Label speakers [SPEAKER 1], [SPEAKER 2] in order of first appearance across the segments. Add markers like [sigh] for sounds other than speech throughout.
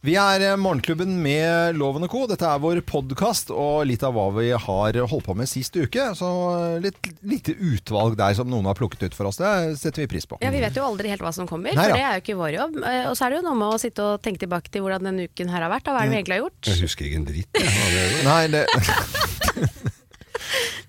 [SPEAKER 1] Vi er eh, Morgenklubben med Loven og Co. Dette er vår podkast og litt av hva vi har holdt på med sist uke. Så eh, litt lite utvalg der som noen har plukket ut for oss. Det setter vi pris på.
[SPEAKER 2] Ja, Vi vet jo aldri helt hva som kommer,
[SPEAKER 1] Nei, ja.
[SPEAKER 2] for det er jo ikke vår jobb. Eh, Og så er det jo noe med å sitte og tenke tilbake til hvordan denne uken her har vært.
[SPEAKER 1] Mm.
[SPEAKER 2] Og hva er det vi egentlig har gjort?
[SPEAKER 3] Jeg husker ikke en dritt. jeg. Hva det var.
[SPEAKER 1] Nei, det [laughs]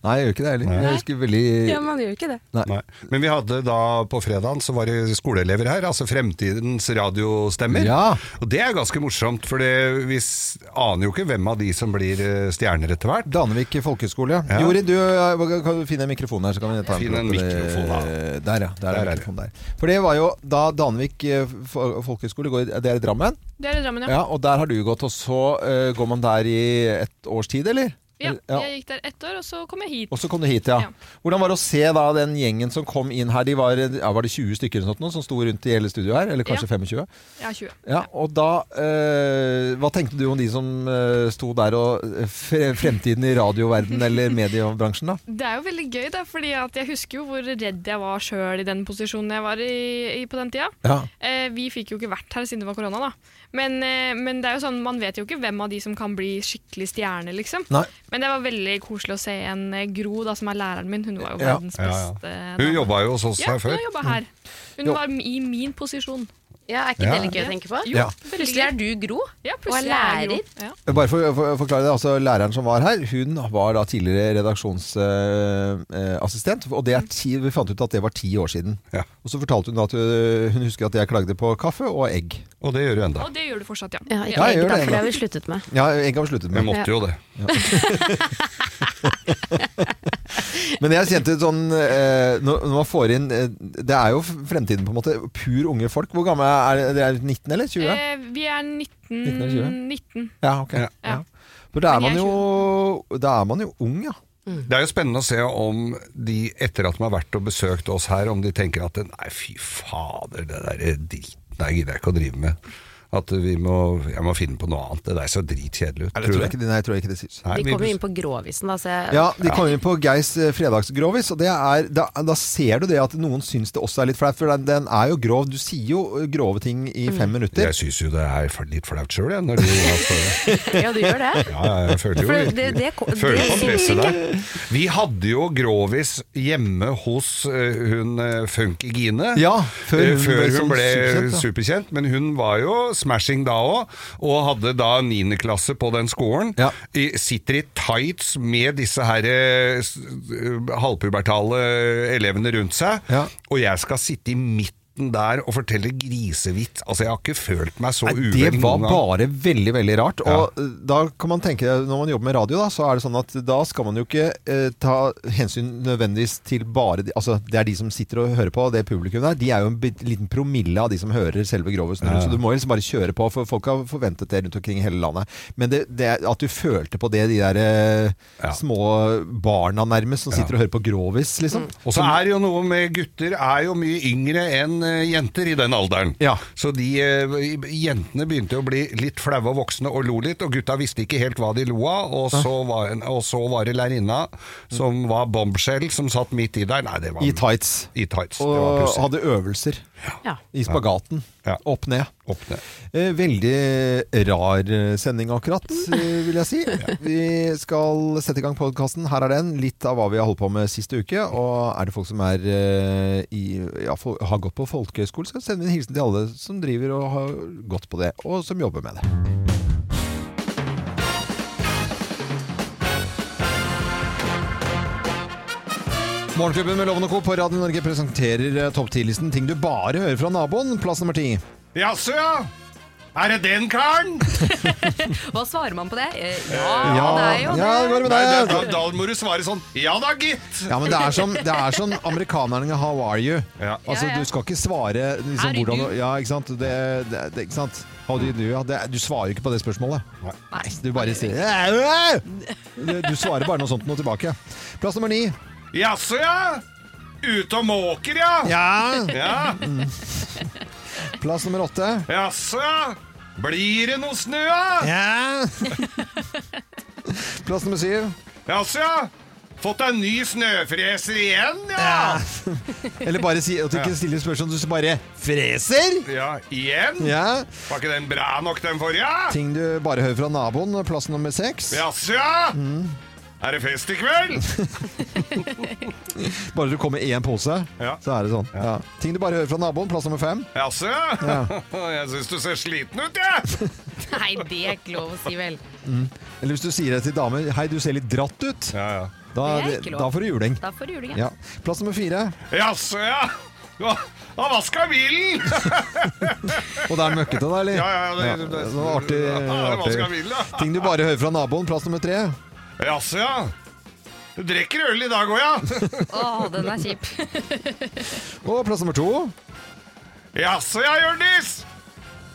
[SPEAKER 1] Nei, jeg gjør ikke det heller. Jeg husker veldig
[SPEAKER 2] Ja, man gjør jo ikke det.
[SPEAKER 3] Nei. Men vi hadde da på fredagen så var det skoleelever her, altså Fremtidens radiostemmer.
[SPEAKER 1] Ja.
[SPEAKER 3] Og det er ganske morsomt, for det- vi s- aner jo ikke hvem av de som blir eh, stjerner etter hvert.
[SPEAKER 1] Danevik folkehøgskole. Ja.
[SPEAKER 3] Ja.
[SPEAKER 1] Jori, du eh, kan du finne en mikrofon her. Så kan vi ta
[SPEAKER 3] Finn en
[SPEAKER 1] prat på det.
[SPEAKER 3] mikrofon, da.
[SPEAKER 1] Der, ja. Der
[SPEAKER 3] Der
[SPEAKER 1] er
[SPEAKER 3] er det.
[SPEAKER 1] mikrofonen der. For det var jo da Danevik eh, fo- folkehøgskole går Det er i Drammen.
[SPEAKER 4] Det er i Drammen, ja.
[SPEAKER 1] Ja, og der har du gått, og så eh, går man der i et års tid, eller?
[SPEAKER 4] ja.
[SPEAKER 1] Eller- ja.
[SPEAKER 4] Jeg gikk der ett år, og så kom jeg hit.
[SPEAKER 1] Og så kom du hit, ja.
[SPEAKER 4] Ja.
[SPEAKER 1] Hvordan var det å se da den gjengen som kom inn her? De var, ja, var det 20 stykker eller noe sånt nå, som sto rundt i hele studioet her? Eller kanskje 25?
[SPEAKER 4] Jeg er 20.
[SPEAKER 1] Ja, og da eh, Hva tenkte du om de som eh, sto der og fre Fremtiden i radioverdenen eller mediebransjen, da?
[SPEAKER 4] Det er jo veldig gøy, da, fordi at jeg husker jo hvor redd jeg var sjøl i den posisjonen jeg var i, i på den tida.
[SPEAKER 1] Ja.
[SPEAKER 4] Eh, vi fikk jo ikke vært her siden det var korona, da. Men, eh, men det er jo sånn, man vet jo ikke hvem av de som kan bli skikkelig stjerne, liksom.
[SPEAKER 1] Nei.
[SPEAKER 4] Men det var veldig koselig å se en eh, Gro, da, som er læreren min. Hun var jo
[SPEAKER 1] Ja.
[SPEAKER 4] verdens
[SPEAKER 3] Ja, ja.
[SPEAKER 4] beste.
[SPEAKER 3] Hun
[SPEAKER 4] dame.
[SPEAKER 3] jobba jo hos oss
[SPEAKER 4] ja,
[SPEAKER 3] her før.
[SPEAKER 4] hun jobba her. Hun
[SPEAKER 1] Jo.
[SPEAKER 4] var i min posisjon.
[SPEAKER 2] Ja, Er ikke
[SPEAKER 3] Ja.
[SPEAKER 2] det litt gøy å tenke på?
[SPEAKER 4] Jo,
[SPEAKER 1] Ja.
[SPEAKER 4] veldig
[SPEAKER 2] Plutselig er du Gro,
[SPEAKER 4] Ja,
[SPEAKER 2] og er
[SPEAKER 4] plutselig er
[SPEAKER 2] lærer.
[SPEAKER 4] Gro. Ja.
[SPEAKER 1] Bare for å for- forklare det, altså Læreren som var her, hun var da tidligere redaksjonsassistent. og det er ti, vi fant ut at det var ti år siden.
[SPEAKER 3] Ja.
[SPEAKER 1] Og så fortalte hun da at øh, hun husker at jeg klagde på kaffe og egg.
[SPEAKER 3] Og det gjør du enda.
[SPEAKER 4] Og det gjør du fortsatt, ja.
[SPEAKER 2] Ja,
[SPEAKER 1] Ja,
[SPEAKER 2] ikke
[SPEAKER 1] jeg
[SPEAKER 2] egg,
[SPEAKER 1] gjør
[SPEAKER 2] da,
[SPEAKER 1] det
[SPEAKER 2] for det
[SPEAKER 1] ennå.
[SPEAKER 2] har vi sluttet med.
[SPEAKER 1] Ja, egg har vi sluttet
[SPEAKER 3] Vi
[SPEAKER 1] med.
[SPEAKER 3] måtte jo det.
[SPEAKER 1] Men jeg kjente sånn eh, Når når man får inn eh, Det er jo fremtiden, på en måte. Pur unge folk. Hvor gamle er det? Dere er 19 eller 20?
[SPEAKER 4] Eh, vi er 19,
[SPEAKER 1] 19 eller 20?
[SPEAKER 4] 19.
[SPEAKER 1] Ja, ok.
[SPEAKER 3] Ja.
[SPEAKER 1] Ja. For da er
[SPEAKER 4] Men
[SPEAKER 1] man
[SPEAKER 4] jeg er
[SPEAKER 1] jo Da er man jo ung, ja.
[SPEAKER 3] Det er jo spennende å se om de, etter at de har vært og besøkt oss her, om de tenker at nei, fy fader, det der driten der gidder jeg ikke å drive med. At vi må, jeg må finne på noe annet. Det der ser dritkjedelig ut.
[SPEAKER 1] Tror jeg ikke, nei, jeg tror ikke det sies.
[SPEAKER 3] Nei,
[SPEAKER 2] De
[SPEAKER 3] vi-
[SPEAKER 2] kommer jo inn på gråvisen, da. Så jeg,
[SPEAKER 1] Ja, de kom inn på Geirs eh, fredagsgrovis, og det er, da, da ser du det at noen syns det også er litt flaut, for den, den er jo grov. Du sier jo eh, grove ting i fem minutter.
[SPEAKER 3] Jeg syns jo det er for- litt flaut sjøl, jeg. Når de, altså,
[SPEAKER 2] [laughs] ja, du gjør det.
[SPEAKER 3] ja, jeg føler jo
[SPEAKER 2] For
[SPEAKER 3] litt
[SPEAKER 2] det, det, det,
[SPEAKER 3] Føler på
[SPEAKER 2] det
[SPEAKER 3] presset der. Vi hadde jo Grovis hjemme hos eh, hun eh, Funky Gine.
[SPEAKER 1] Ja, før
[SPEAKER 3] Eh,
[SPEAKER 1] hun
[SPEAKER 3] før
[SPEAKER 1] ble
[SPEAKER 3] hun
[SPEAKER 1] sånn
[SPEAKER 3] ble
[SPEAKER 1] superkjent,
[SPEAKER 3] superkjent,
[SPEAKER 1] ja.
[SPEAKER 3] Men hun var jo smashing da òg, og hadde da niendeklasse på den skolen.
[SPEAKER 1] Ja.
[SPEAKER 3] I, sitter i tights med disse her eh, s- eh, halvpubertale elevene rundt seg,
[SPEAKER 1] Ja.
[SPEAKER 3] og jeg skal sitte i midten der og fortelle grisevits. Altså, jeg har ikke følt meg så
[SPEAKER 1] Nei,
[SPEAKER 3] uvel
[SPEAKER 1] det var
[SPEAKER 3] noen gang.
[SPEAKER 1] bare veldig, veldig rart.
[SPEAKER 3] Ja.
[SPEAKER 1] Og eh, da kan man tenke, når man jobber med radio, da, så er det sånn at da skal man jo ikke eh, ta hensyn nødvendigvis til bare de, Altså, det er de som sitter og hører på, det publikum der. De er jo en bit- liten promille av de som hører selve Grovisen rundt, så du må jo liksom bare kjøre på, for folk har forventet det rundt omkring i hele landet. Men det, det, er- at du følte på det, de der eh,
[SPEAKER 3] Ja.
[SPEAKER 1] små barna nærmest, som sitter og hører på Grovis, liksom.
[SPEAKER 3] Mm. Og så er det jo noe med gutter er jo mye yngre enn eh, jenter i den alderen.
[SPEAKER 1] Ja.
[SPEAKER 3] Så de eh, jentene begynte å bli litt flaue og voksne og lo litt, og gutta visste ikke helt hva de lo av. Og så var, en, og så var det lærerinna som var bombshell, som satt midt i der. Nei, det var
[SPEAKER 1] I tights.
[SPEAKER 3] I tights. det var
[SPEAKER 1] Og
[SPEAKER 3] pussig.
[SPEAKER 1] hadde øvelser
[SPEAKER 2] Ja.
[SPEAKER 1] i spagaten.
[SPEAKER 3] Ja.
[SPEAKER 1] Opp ned.
[SPEAKER 3] Opp ned.
[SPEAKER 1] Eh, Veldig rar eh, sending akkurat, eh, vil jeg si. Vi skal sette i gang podkasten. Her er den. Litt av hva vi har holdt på med siste uke. Og er det folk som er eh, i, ja, fol- har gått på folkehøyskole, skal sende en hilsen til alle som driver og har gått på det, og som jobber med det. Morgenklubben med Loven og Co. på Radio Norge presenterer eh, topp 10-listen ting du bare hører fra naboen. Plass nummer ti.
[SPEAKER 3] Jaså, ja! Er det den karen?
[SPEAKER 2] Hva svarer man på det? Eh, Ja,
[SPEAKER 1] ja, det går med
[SPEAKER 3] Nei,
[SPEAKER 1] det.
[SPEAKER 3] da, da- da må du svare sånn Ja da, gitt!
[SPEAKER 1] Ja, men det er som, det er som amerikanerne 'How are you?'
[SPEAKER 3] Ja.
[SPEAKER 1] Altså,
[SPEAKER 2] Ja, ja.
[SPEAKER 1] Du skal ikke svare liksom,
[SPEAKER 2] How do you
[SPEAKER 1] hvordan
[SPEAKER 2] do?
[SPEAKER 1] Ja, ikke sant? Det, det, det, ikke sant? How do you do? Ja, det, du svarer ikke på det spørsmålet.
[SPEAKER 3] Nei.
[SPEAKER 1] Du bare sier «Æ, æ!» Du svarer bare noe sånt noe tilbake. Plass nummer ni.
[SPEAKER 3] Jaså, ja! Ute og måker, ja!
[SPEAKER 1] Ja.
[SPEAKER 3] ja.
[SPEAKER 1] Plass nummer åtte.
[SPEAKER 3] Jaså, ja! Blir det noe snø, ja?
[SPEAKER 1] Ja. Plass nummer syv.
[SPEAKER 3] Jaså, ja? Fått deg ny snøfreser igjen, ja!
[SPEAKER 1] Eller bare si at du ikke stiller spørsmål, du bare freser!
[SPEAKER 3] Ja, igjen?
[SPEAKER 1] Ja.
[SPEAKER 3] Var ikke den bra nok, den forrige?
[SPEAKER 1] Ting du bare hører fra naboen, plass nummer seks.
[SPEAKER 3] Jaså, ja? Er det fest i kveld?
[SPEAKER 1] Bare du kommer i én pose,
[SPEAKER 3] Ja.
[SPEAKER 1] så er det sånn. Ja. Ting du bare hører fra naboen, plass nummer fem.
[SPEAKER 3] Jaså, ja? [laughs] Jeg syns du ser sliten ut, jeg.
[SPEAKER 2] Nei, det er ikke lov å si, vel.
[SPEAKER 1] Eller hvis du sier det til damer, hei, du ser litt dratt ut.
[SPEAKER 3] Ja, ja.
[SPEAKER 1] Da,
[SPEAKER 2] Det er ikke lov.
[SPEAKER 1] da får du juling.
[SPEAKER 2] Da får du juling.
[SPEAKER 1] Ja. Plass nummer fire,
[SPEAKER 3] Jaså, ja. Du har har vaska bilen!
[SPEAKER 1] og det er møkkete da, eller?
[SPEAKER 3] Ja, ja, det- det-
[SPEAKER 1] det var artig.
[SPEAKER 3] Ja, det var vaska
[SPEAKER 1] artig.
[SPEAKER 3] bilen, da.
[SPEAKER 1] Ting du bare hører fra naboen, plass nummer tre.
[SPEAKER 3] Jaså, ja. Du drikker øl i dag òg, ja?
[SPEAKER 2] Å, den er kjip.
[SPEAKER 1] Og plass nummer to.
[SPEAKER 3] Jaså, ja, Hjørdis.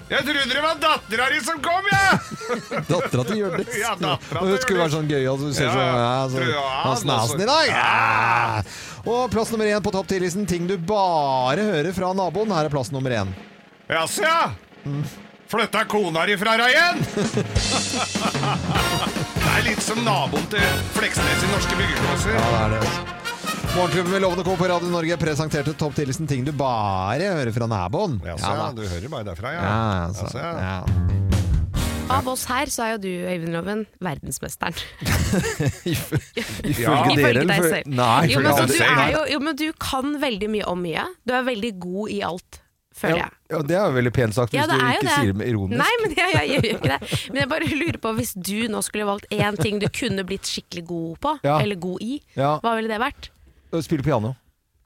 [SPEAKER 3] Jeg trodde det var dattera di som kom, jeg!
[SPEAKER 1] Dattera til Hjørdis.
[SPEAKER 3] Ja, dattera
[SPEAKER 1] Og
[SPEAKER 3] til
[SPEAKER 1] Hun skulle være sånn gøyal, så du ser
[SPEAKER 3] Ja,
[SPEAKER 1] sånn ja,
[SPEAKER 3] ja.
[SPEAKER 1] så,
[SPEAKER 3] Tror jeg
[SPEAKER 1] Hans
[SPEAKER 3] han også-
[SPEAKER 1] nesen i dag! Ja. Og plass nummer én på topp 10-listen. Ting du bare hører fra naboen. Her er plass nummer én.
[SPEAKER 3] Jaså, ja. Flytta kona di fra deg igjen? det er litt som naboen til Fleksnes i norske byggeklosser.
[SPEAKER 1] Ja, det er det. altså. Morgenklubben med Lovende Co på Radio Norge presenterte topp 10-listen Ting du bare hører fra naboen. da.
[SPEAKER 3] du hører bare derfra, ja.
[SPEAKER 1] sånn. Ja, altså,
[SPEAKER 3] Jaså, ja.
[SPEAKER 1] ja.
[SPEAKER 2] Av oss her så er jo du, Øyvind Loven, verdensmesteren.
[SPEAKER 1] Ifølge
[SPEAKER 3] Ja.
[SPEAKER 1] dere,
[SPEAKER 2] Ifølge
[SPEAKER 1] eller
[SPEAKER 2] deg
[SPEAKER 1] føl-
[SPEAKER 2] selv.
[SPEAKER 1] Nei,
[SPEAKER 2] Jo men,
[SPEAKER 1] ifølge
[SPEAKER 2] så
[SPEAKER 1] alle
[SPEAKER 2] du
[SPEAKER 1] selv.
[SPEAKER 2] er jo, jo, men du kan veldig mye om mye. Du er veldig god i alt, føler
[SPEAKER 1] ja,
[SPEAKER 2] jeg.
[SPEAKER 1] ja, Det er jo veldig pent sagt, hvis
[SPEAKER 2] Ja, det
[SPEAKER 1] du
[SPEAKER 2] er jo
[SPEAKER 1] ikke
[SPEAKER 2] det.
[SPEAKER 1] sier det ironisk.
[SPEAKER 2] Nei, men [laughs] jeg, jeg, gjør jo ikke det. Men jeg bare lurer på, hvis du nå skulle valgt én ting du kunne blitt skikkelig god på,
[SPEAKER 1] Ja.
[SPEAKER 2] eller god i,
[SPEAKER 1] Ja.
[SPEAKER 2] hva ville det vært?
[SPEAKER 1] Spille piano.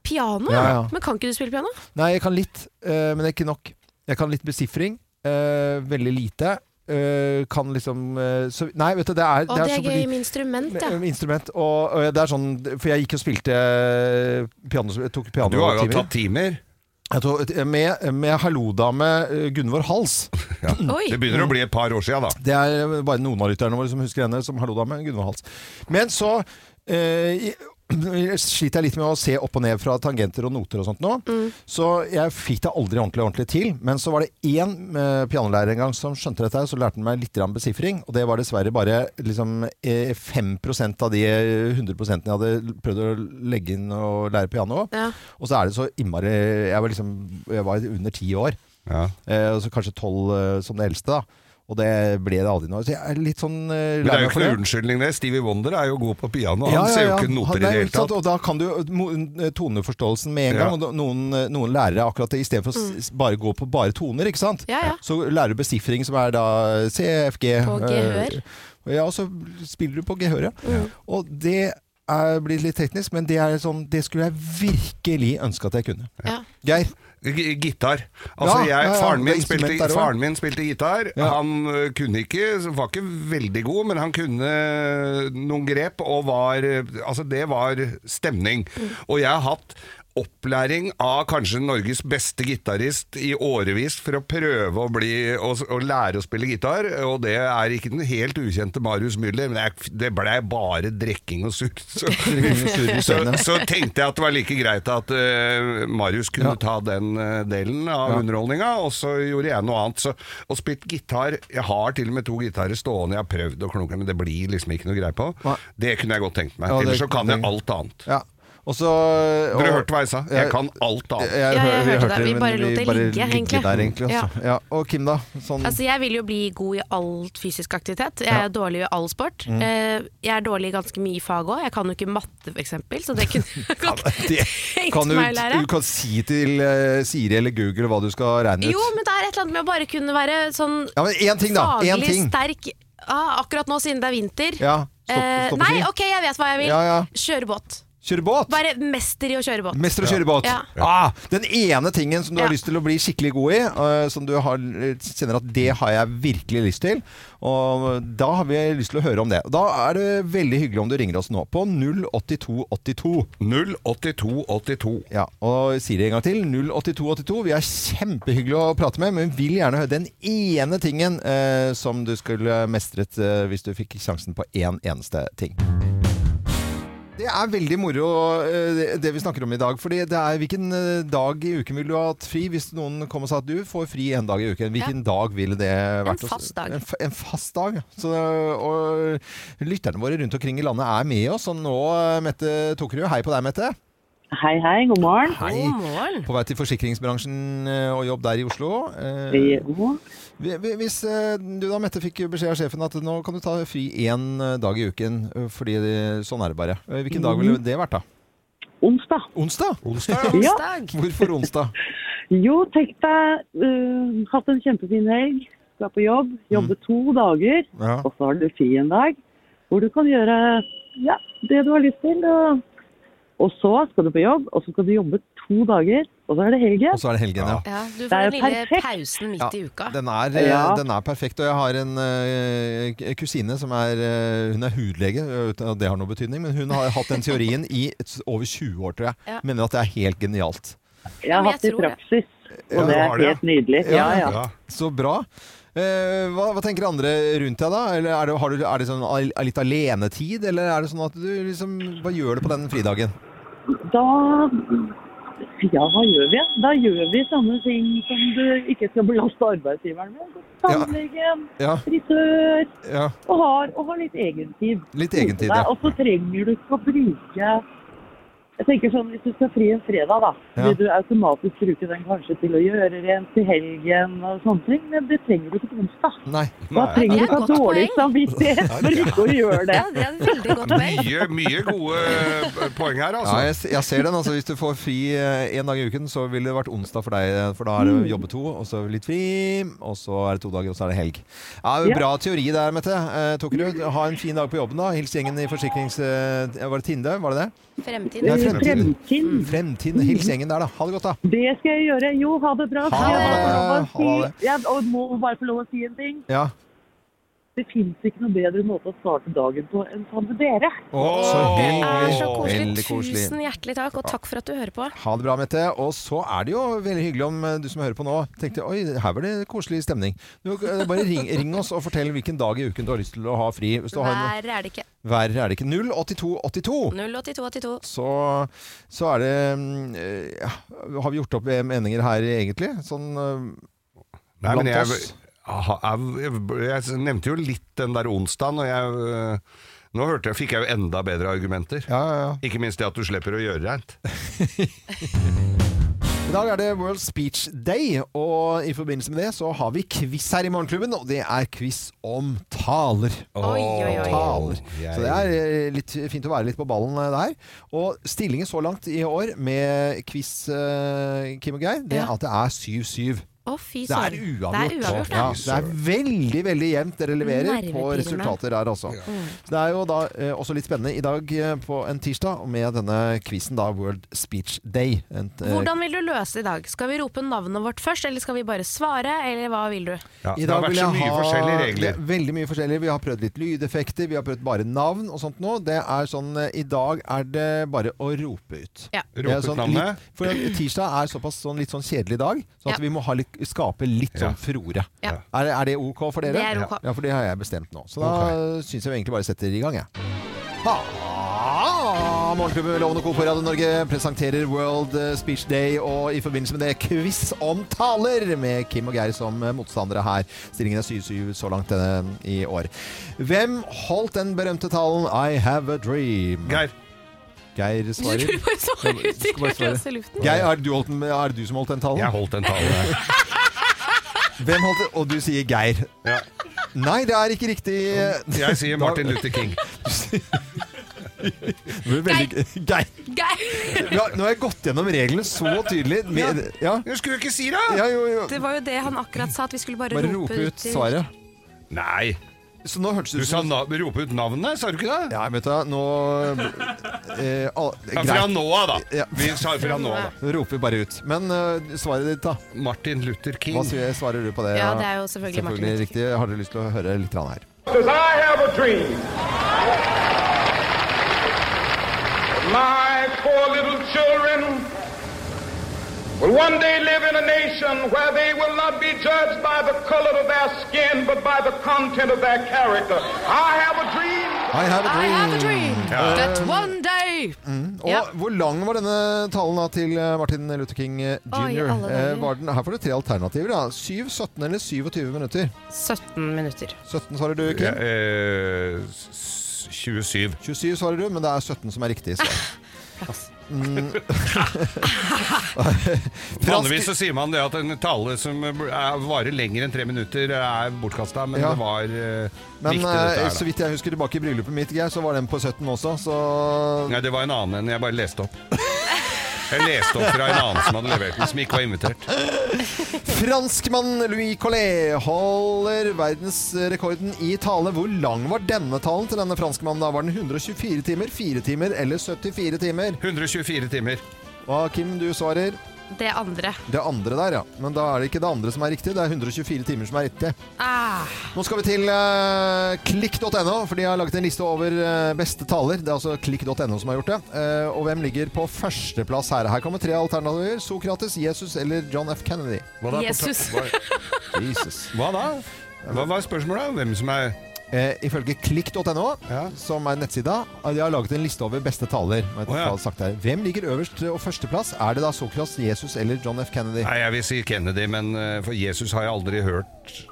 [SPEAKER 2] Piano, ja.
[SPEAKER 1] Ja, ja.
[SPEAKER 2] Men kan ikke du spille piano?
[SPEAKER 1] Nei, jeg kan litt, eh, men det er ikke nok. Jeg kan litt besifring. eh, veldig lite. Eh, kan liksom eh, så, Nei, vet du, det er,
[SPEAKER 2] Å, det er gøy med instrument, ja.
[SPEAKER 1] med instrument. Og, og det er sånn For jeg gikk og spilte eh, piano, jeg tok
[SPEAKER 3] Du har jo
[SPEAKER 1] pianotimer.
[SPEAKER 3] tatt timer.
[SPEAKER 1] Jeg tok- Med, med hallo-dame eh, Gunvor Hals.
[SPEAKER 2] Oi.
[SPEAKER 3] Det begynner å bli et par år sia, da.
[SPEAKER 1] Det er eh, bare noen av lytterne våre som husker henne som hallo-dame Gunvor Hals. Men så eh, i- sliter jeg litt med å se opp og ned fra tangenter og noter og sånt nå. Så jeg fikk det aldri ordentlig ordentlig til. Men så var det én eh, pianolærer en gang som skjønte dette, her, så lærte han meg litt grann besifring. Og det var dessverre bare liksom, eh, 5 av de 100 jeg hadde prøvd å legge inn og lære piano.
[SPEAKER 2] Ja.
[SPEAKER 1] Og så er det så innmari Jeg var, liksom, jeg var under ti år.
[SPEAKER 3] Ja.
[SPEAKER 1] Eh, og så kanskje tolv eh, som det eldste, da. Og det ble det aldri noe. Så jeg er litt sånn eh, lei
[SPEAKER 3] Men det er jo
[SPEAKER 1] meg
[SPEAKER 3] ikke
[SPEAKER 1] for
[SPEAKER 3] noen unnskyldning, det. Stevie Wonder er jo god på piano. Han
[SPEAKER 1] Ja, ja,
[SPEAKER 3] ser jo
[SPEAKER 1] ja.
[SPEAKER 3] ikke noter
[SPEAKER 1] Han-
[SPEAKER 3] i det
[SPEAKER 1] nei,
[SPEAKER 3] hele
[SPEAKER 1] ikke sant?
[SPEAKER 3] tatt.
[SPEAKER 1] Og da kan du mo- eh, toneforståelsen med en
[SPEAKER 3] Ja.
[SPEAKER 1] gang. Og da- noen, eh, noen lærere akkurat det, istedenfor å s- bare gå på bare toner, ikke sant.
[SPEAKER 2] Mm. Ja, ja.
[SPEAKER 1] Så lærer du besifring, som er da eh, C, F, G
[SPEAKER 2] På gehør. Mm.
[SPEAKER 1] eh, Ja, og så spiller du på gehøret. Og det er, blir litt teknisk, men det, er sånn, det skulle jeg virkelig ønske at jeg kunne.
[SPEAKER 2] Ja.
[SPEAKER 1] Geir?
[SPEAKER 3] G- Gitar. Altså,
[SPEAKER 1] Ja, ja,
[SPEAKER 3] jeg,
[SPEAKER 1] ja,
[SPEAKER 3] faren,
[SPEAKER 1] det er
[SPEAKER 3] min
[SPEAKER 1] instrument
[SPEAKER 3] spilte,
[SPEAKER 1] der også.
[SPEAKER 3] faren min spilte gitar.
[SPEAKER 1] Ja.
[SPEAKER 3] Han ø, kunne ikke, var ikke veldig god, men han kunne eh, noen grep, og var ø, Altså, det var stemning. Og jeg har hatt Opplæring av kanskje Norges beste gitarist i årevis for å prøve å, bli, å, s- å lære å spille gitar, og det er ikke den helt ukjente Marius Müller, men jeg, det blei bare drikking og surr. Så,
[SPEAKER 1] [laughs]
[SPEAKER 3] så, så tenkte jeg at det var like greit at eh, Marius kunne
[SPEAKER 1] Ja.
[SPEAKER 3] ta den eh, delen av
[SPEAKER 1] Ja.
[SPEAKER 3] underholdninga, og så gjorde jeg noe annet. Så, og spilt gitar Jeg har til og med to gitarer stående, jeg har prøvd å klunke, men det blir liksom ikke noe greie på.
[SPEAKER 1] Nei.
[SPEAKER 3] Det kunne jeg godt tenkt meg.
[SPEAKER 1] Ja, det
[SPEAKER 3] Ellers så kan jeg
[SPEAKER 1] kunne-
[SPEAKER 3] alt annet.
[SPEAKER 1] Ja. Og så
[SPEAKER 3] Dere
[SPEAKER 1] og- Eh,
[SPEAKER 3] hørte hva jeg sa?
[SPEAKER 1] Ja.
[SPEAKER 3] Jeg kan alt
[SPEAKER 1] Jeg,
[SPEAKER 3] annet.
[SPEAKER 1] jeg,
[SPEAKER 2] Ja, jeg
[SPEAKER 1] vi
[SPEAKER 2] hørte
[SPEAKER 1] hørte
[SPEAKER 2] det. Vi
[SPEAKER 1] men
[SPEAKER 2] bare lot det ligge, egentlig.
[SPEAKER 1] Der, egentlig altså. ja. Og Kim, da? Sånn,
[SPEAKER 2] Altså, jeg vil jo bli god i all fysisk aktivitet. Jeg er
[SPEAKER 1] Ja. Mm.
[SPEAKER 2] dårlig i all sport. Eh, Jeg er dårlig i ganske mye fag òg. Jeg kan jo ikke matte, f.eks., så det
[SPEAKER 1] [laughs]
[SPEAKER 2] kunne jeg godt
[SPEAKER 1] det
[SPEAKER 2] tenkt
[SPEAKER 1] kan du,
[SPEAKER 2] Altså, meg å lære.
[SPEAKER 1] du kan si til eh, Siri eller Google hva du skal regne ut.
[SPEAKER 2] Jo, men det er et eller annet med å bare kunne være sånn
[SPEAKER 1] ja, men én ting, da. Én
[SPEAKER 2] faglig
[SPEAKER 1] ting.
[SPEAKER 2] sterk ah, akkurat nå siden det er vinter.
[SPEAKER 1] Ja, stopp,
[SPEAKER 2] Eh,
[SPEAKER 1] stopp å
[SPEAKER 2] nei,
[SPEAKER 1] si.
[SPEAKER 2] ok, jeg vet hva jeg vil.
[SPEAKER 1] Ja, ja.
[SPEAKER 2] Kjøre båt.
[SPEAKER 1] Kjøre båt!
[SPEAKER 2] Bare mester i å kjøre båt.
[SPEAKER 1] Mester å kjøre båt.
[SPEAKER 2] Ja.
[SPEAKER 1] Ah, den ene tingen som du har
[SPEAKER 2] Ja.
[SPEAKER 1] lyst til å bli skikkelig god i, eh, som du har, kjenner at det har jeg virkelig lyst til, og da har vi lyst til å høre om det. Da er det veldig hyggelig om du ringer oss nå på 08282.
[SPEAKER 3] 08282.
[SPEAKER 1] Ja, og sier det en gang til. 08282. Vi er kjempehyggelig å prate med, men vil gjerne høre den ene tingen eh, som du skulle mestret eh, hvis du fikk sjansen på én eneste ting. Det er veldig moro eh, det- det vi snakker om i dag. Fordi det er Hvilken eh, dag i uken vil du ha hatt fri? Hvis noen kom og sa at du får fri en dag i uken, hvilken dag ville det vært?
[SPEAKER 2] fast dag.
[SPEAKER 1] En, f en fast dag. Så, eh, og lytterne våre rundt omkring i landet er med oss. Og nå, eh, Mette Tokerud, hei på deg, Mette.
[SPEAKER 5] Hei, hei, god morgen.
[SPEAKER 2] God morgen.
[SPEAKER 1] På vei til forsikringsbransjen eh, og jobb der i Oslo. Eh,
[SPEAKER 5] Jo,
[SPEAKER 1] Hvi- hvi- Hvis eh, du da, Mette, fikk beskjed av sjefen at nå kan du ta fri én eh, dag i uken, eh, fordi det- sånn er det bare. Eh, Hvilken dag ville det vært, da?
[SPEAKER 5] onsdag.
[SPEAKER 1] Onsdag?
[SPEAKER 5] Ja.
[SPEAKER 2] Onsdag.
[SPEAKER 1] Hvorfor onsdag?
[SPEAKER 5] Jo, tenk deg, eh, hatt en kjempefin helg, skal på jobb,
[SPEAKER 6] Mm.
[SPEAKER 5] jobbe to dager,
[SPEAKER 1] Ja.
[SPEAKER 5] og så har du fri en dag, hvor du kan gjøre ja, det du har lyst til. Og, og så skal du på jobb, og så skal du jobbe to dager, og så er det
[SPEAKER 1] Og
[SPEAKER 5] helgen.
[SPEAKER 1] så er det helgen, ja.
[SPEAKER 2] Ja, du
[SPEAKER 5] Det er
[SPEAKER 2] får den
[SPEAKER 5] jo
[SPEAKER 2] lille
[SPEAKER 5] perfekt.
[SPEAKER 2] pausen midt
[SPEAKER 1] Ja,
[SPEAKER 2] i uka.
[SPEAKER 1] Den er, eh,
[SPEAKER 5] Ja.
[SPEAKER 1] den er perfekt. Og jeg har en eh, k- kusine som er eh, Hun er hudlege, uten at det har noe betydning, men hun har hatt den teorien i et- over 20 år, tror jeg.
[SPEAKER 2] Ja.
[SPEAKER 1] Mener at det er helt genialt.
[SPEAKER 5] Jeg har
[SPEAKER 2] men jeg
[SPEAKER 5] hatt det i
[SPEAKER 2] tror det.
[SPEAKER 5] praksis,
[SPEAKER 6] Ja,
[SPEAKER 5] og det
[SPEAKER 6] du har
[SPEAKER 5] er
[SPEAKER 6] det, ja.
[SPEAKER 5] helt nydelig. Ja, ja.
[SPEAKER 6] Ja.
[SPEAKER 1] Så bra. Eh, hva, hva tenker andre rundt deg, da? Eller er det, har du, er det sånn al- litt alenetid, eller er det sånn at du liksom Hva gjør du på den fridagen?
[SPEAKER 5] Da ja, hva gjør vi? Da gjør vi sånne ting som du ikke skal belaste arbeidsgiveren med. Gå til
[SPEAKER 1] Ja.
[SPEAKER 5] Tannlegen,
[SPEAKER 1] Ja,
[SPEAKER 5] frisør,
[SPEAKER 1] ja.
[SPEAKER 5] og har, og har litt egentid.
[SPEAKER 1] Litt egentid,
[SPEAKER 5] Kose deg,
[SPEAKER 1] ja.
[SPEAKER 5] Og så trenger du ikke å bruke Jeg tenker sånn, Hvis du skal fri en fredag, da,
[SPEAKER 1] Ja.
[SPEAKER 5] vil du automatisk bruke den kanskje til å gjøre rent til helgen og sånne ting, men det trenger du ikke på onsdag.
[SPEAKER 1] Nei.
[SPEAKER 5] Da
[SPEAKER 2] det er
[SPEAKER 5] trenger du ikke
[SPEAKER 2] et
[SPEAKER 5] ha
[SPEAKER 2] godt
[SPEAKER 5] dårlig
[SPEAKER 2] poeng.
[SPEAKER 5] samvittighet for ikke å gjøre det.
[SPEAKER 2] Ja, det er et veldig godt poeng.
[SPEAKER 6] Mye, mye gode eh, poeng her,
[SPEAKER 1] Ja,
[SPEAKER 6] altså.
[SPEAKER 1] jeg, jeg ser den. altså Hvis du får fri én dag i uken, så ville det vært onsdag for deg. eh, For da er det jobbe to, og så litt fri, og så er det to dager, og så er det helg. Ja,
[SPEAKER 5] Ja.
[SPEAKER 1] Bra teori der, Mette. Eh, Tokerud, ha en fin dag på jobben, da. Hils gjengen i forsikrings... eh, var det Tinde? Var det det?
[SPEAKER 2] Fremtiden.
[SPEAKER 1] Det er fremtiden.
[SPEAKER 5] Fremtid.
[SPEAKER 1] Fremtiden. Hils gjengen der, da. Ha det godt, da.
[SPEAKER 5] Det skal jeg gjøre. Jo, ha det bra.
[SPEAKER 1] Ha
[SPEAKER 5] Skal jeg
[SPEAKER 1] det.
[SPEAKER 5] få lov å si-
[SPEAKER 1] Ha det.
[SPEAKER 5] Jeg og må bare få lov å si en ting.
[SPEAKER 1] Ja.
[SPEAKER 5] Det fins ikke noe bedre måte å starte dagen på enn sammen med dere.
[SPEAKER 1] Å,
[SPEAKER 6] Åh,
[SPEAKER 2] Det er så
[SPEAKER 1] Veldig
[SPEAKER 2] koselig.
[SPEAKER 1] koselig.
[SPEAKER 2] Tusen hjertelig takk, og takk for at du hører på.
[SPEAKER 1] Ha det bra, Mette. Og så er det jo veldig hyggelig om eh, du som hører på nå, tenkte oi, her var det koselig stemning. Du, eh, bare ring, [laughs] ring oss og fortell hvilken dag i uken du har lyst til å ha fri. Hvis du har en,
[SPEAKER 2] Verre er det ikke.
[SPEAKER 1] vær er det ikke 08282.
[SPEAKER 2] 08282.
[SPEAKER 1] Så, så er det mm, eh, ja, Har vi gjort opp meninger her, egentlig? Sånn eh,
[SPEAKER 6] Nei, men
[SPEAKER 1] blant
[SPEAKER 6] jeg,
[SPEAKER 1] oss?
[SPEAKER 6] aha, jeg, jeg, jeg nevnte jo litt den der onsdagen, og jeg, øh, nå hørte jeg, fikk jeg jo enda bedre argumenter.
[SPEAKER 1] Ja, ja, ja.
[SPEAKER 6] Ikke minst det at du slipper å gjøre rent.
[SPEAKER 1] I dag er det World Speech Day, og i forbindelse med det så har vi quiz her i Morgenklubben. Og det er quiz om taler.
[SPEAKER 2] Oi, oi, oi.
[SPEAKER 1] Taler.
[SPEAKER 6] Jeg-
[SPEAKER 1] Så det er eh, litt fint å være litt på ballen eh, der. Og stillingen så langt i år med quiz eh, Kim og Geir, det er
[SPEAKER 2] Ja.
[SPEAKER 1] at det er 7-7.
[SPEAKER 2] Å, fy
[SPEAKER 1] Det er
[SPEAKER 2] søren.
[SPEAKER 1] uavgjort.
[SPEAKER 2] Det er uavgjort,
[SPEAKER 1] ja.
[SPEAKER 2] ja.
[SPEAKER 1] det er veldig veldig jevnt dere leverer på
[SPEAKER 2] Nervepirrende. Mm.
[SPEAKER 1] resultater her, altså. Så det er jo da eh, også litt spennende i dag eh, på en tirsdag med denne quizen, da World Speech Day. En, eh,
[SPEAKER 2] Hvordan vil du løse det i dag? Skal vi rope navnet vårt først, eller skal vi bare svare, eller hva vil du?
[SPEAKER 6] Ja,
[SPEAKER 1] I
[SPEAKER 6] det har
[SPEAKER 1] dag
[SPEAKER 6] vært
[SPEAKER 1] vil
[SPEAKER 6] så
[SPEAKER 1] jeg
[SPEAKER 6] mye
[SPEAKER 1] ha
[SPEAKER 6] forskjellige
[SPEAKER 1] det er
[SPEAKER 6] regler.
[SPEAKER 1] Veldig mye forskjellig. Vi har prøvd litt lydeffekter, vi har prøvd bare navn og sånt nå. Det er sånn, eh, I dag er det bare å rope ut.
[SPEAKER 2] Ja.
[SPEAKER 1] Det er
[SPEAKER 6] Rope ut
[SPEAKER 1] sånn
[SPEAKER 6] navnet.
[SPEAKER 1] litt- For tirsdag er såpass sånn, litt sånn kjedelig dag, så
[SPEAKER 2] Ja.
[SPEAKER 1] at vi må ha litt, skape litt
[SPEAKER 6] Ja.
[SPEAKER 1] sånn furore.
[SPEAKER 2] Ja.
[SPEAKER 1] Er, det- er det ok for dere?
[SPEAKER 2] Det er ok.
[SPEAKER 1] Ja, for det har jeg bestemt nå. Så da okay. syns jeg vi egentlig bare setter i gang, jeg. Ah, Morgenklubben med Lovende Co på Radio Norge presenterer World eh, Speech Day, og i forbindelse med det quiz om taler med Kim og Geir som eh, motstandere her. Stillingen er 7-7 så langt eh, i år. Hvem holdt den berømte talen 'I have a dream'?
[SPEAKER 6] Geir,
[SPEAKER 1] Geir
[SPEAKER 2] Du
[SPEAKER 1] svarer.
[SPEAKER 2] skulle bare svare ut i
[SPEAKER 1] Skal bare svare.
[SPEAKER 2] løse luften.
[SPEAKER 1] Geir, er det du, holdt den, er det du som holdt den talen?
[SPEAKER 6] jeg holdt den talen her.
[SPEAKER 1] Hvem holdt den? Og du sier Geir.
[SPEAKER 6] Ja.
[SPEAKER 1] Nei, det er ikke riktig.
[SPEAKER 6] Jeg sier Martin Luther King.
[SPEAKER 1] Geir. Veldig, Geir.
[SPEAKER 2] Geir!
[SPEAKER 1] Ja, nå har jeg gått gjennom reglene så tydelig. Med, ja.
[SPEAKER 6] Jeg skulle jo ikke si det!
[SPEAKER 1] Ja, jo, jo.
[SPEAKER 2] Det var jo det han akkurat sa, at vi skulle bare,
[SPEAKER 1] Bare rope ut
[SPEAKER 2] til-
[SPEAKER 1] svaret.
[SPEAKER 6] Nei,
[SPEAKER 1] Så nå hørtes
[SPEAKER 6] du
[SPEAKER 1] det ut
[SPEAKER 6] sa
[SPEAKER 1] som
[SPEAKER 6] na rope ut navnet, sa du ikke det?
[SPEAKER 1] Ja, vet du, hva, nå eh, all,
[SPEAKER 6] Ja, fra
[SPEAKER 1] Greit.
[SPEAKER 6] nå av, da.
[SPEAKER 1] Ja.
[SPEAKER 6] Vi sa fra nå av,
[SPEAKER 1] Nå roper vi bare ut. Men eh, svaret ditt, da?
[SPEAKER 6] da. Martin Luther King.
[SPEAKER 1] Hva sier, svarer du på det?
[SPEAKER 2] Ja, det er jo selvfølgelig Martin Luther
[SPEAKER 1] riktig. Har dere lyst til å høre litt grann her?
[SPEAKER 7] Because I have a dream. My poor little children will one day live in a nation where they will not be judged by the color of their skin, but by the content of their character. I have a dream.
[SPEAKER 1] I have a
[SPEAKER 2] I
[SPEAKER 1] dream.
[SPEAKER 2] have a dream that one day Oi!
[SPEAKER 1] Og
[SPEAKER 2] Ja.
[SPEAKER 1] hvor lang var denne talen da til eh, Martin Luther King eh,
[SPEAKER 2] Oi,
[SPEAKER 1] jr.?
[SPEAKER 2] alle dager.
[SPEAKER 1] Eh, var den, her får du tre alternativer. da 7, 17 eller 27 minutter.
[SPEAKER 2] 17 minutter.
[SPEAKER 1] 17 svarer du,
[SPEAKER 3] Ja,
[SPEAKER 1] Kim.
[SPEAKER 3] eh, s- 27.
[SPEAKER 1] 27 svarer du, men det er 17 som er riktig
[SPEAKER 2] [laughs]
[SPEAKER 1] svar.
[SPEAKER 6] [laughs]
[SPEAKER 1] [laughs] Mm.
[SPEAKER 3] Vanligvis så sier man det at en tale som eh, er- varer lenger enn tre minutter, er bortkasta, men
[SPEAKER 1] Ja.
[SPEAKER 3] det var eh,
[SPEAKER 1] Men eh,
[SPEAKER 3] viktig, dette her.
[SPEAKER 1] så
[SPEAKER 3] Da.
[SPEAKER 1] vidt jeg husker tilbake i bryllupet mitt, Geir, så var den på 17 også, så
[SPEAKER 3] Nei, det var en annen enn jeg bare leste opp. Jeg leste opp fra en annen som hadde levert den, som ikke var invitert.
[SPEAKER 1] Franskmann Louis Collet holder verdensrekorden i tale. Hvor lang var denne talen til denne franskmannen? da? Var den 124 timer, 4 timer eller 74 timer?
[SPEAKER 3] 124 timer.
[SPEAKER 1] Hva, Kim, du svarer?
[SPEAKER 2] Det andre.
[SPEAKER 1] Det andre der, ja. Men da er det ikke det andre som er riktig. Det er 124 timer som er riktig.
[SPEAKER 2] Ah,
[SPEAKER 1] Nå skal vi til eh, klikk.no, for de har laget en liste over eh, beste taler. Det er altså klikk.no som har gjort det. Eh, og hvem ligger på førsteplass her? Her kommer tre alternativer. Sokrates, Jesus eller John F. Kennedy.
[SPEAKER 3] Hva da?
[SPEAKER 2] Jesus.
[SPEAKER 3] Hva,
[SPEAKER 1] Jesus.
[SPEAKER 3] hva da? Hva var spørsmålet? Hvem som er
[SPEAKER 1] [laughs] Eh, ifølge klikk.no,
[SPEAKER 3] Ja.
[SPEAKER 1] som er nettsida, eh, de har laget en liste over beste taler. Jeg vet ikke
[SPEAKER 3] Å,
[SPEAKER 1] hva
[SPEAKER 3] ja.
[SPEAKER 1] jeg har sagt her. Hvem ligger øverst eh, og førsteplass? Er det da Sokrates, Jesus eller John F. Kennedy?
[SPEAKER 3] Nei, jeg vil si Kennedy, men eh, for Jesus har jeg aldri hørt.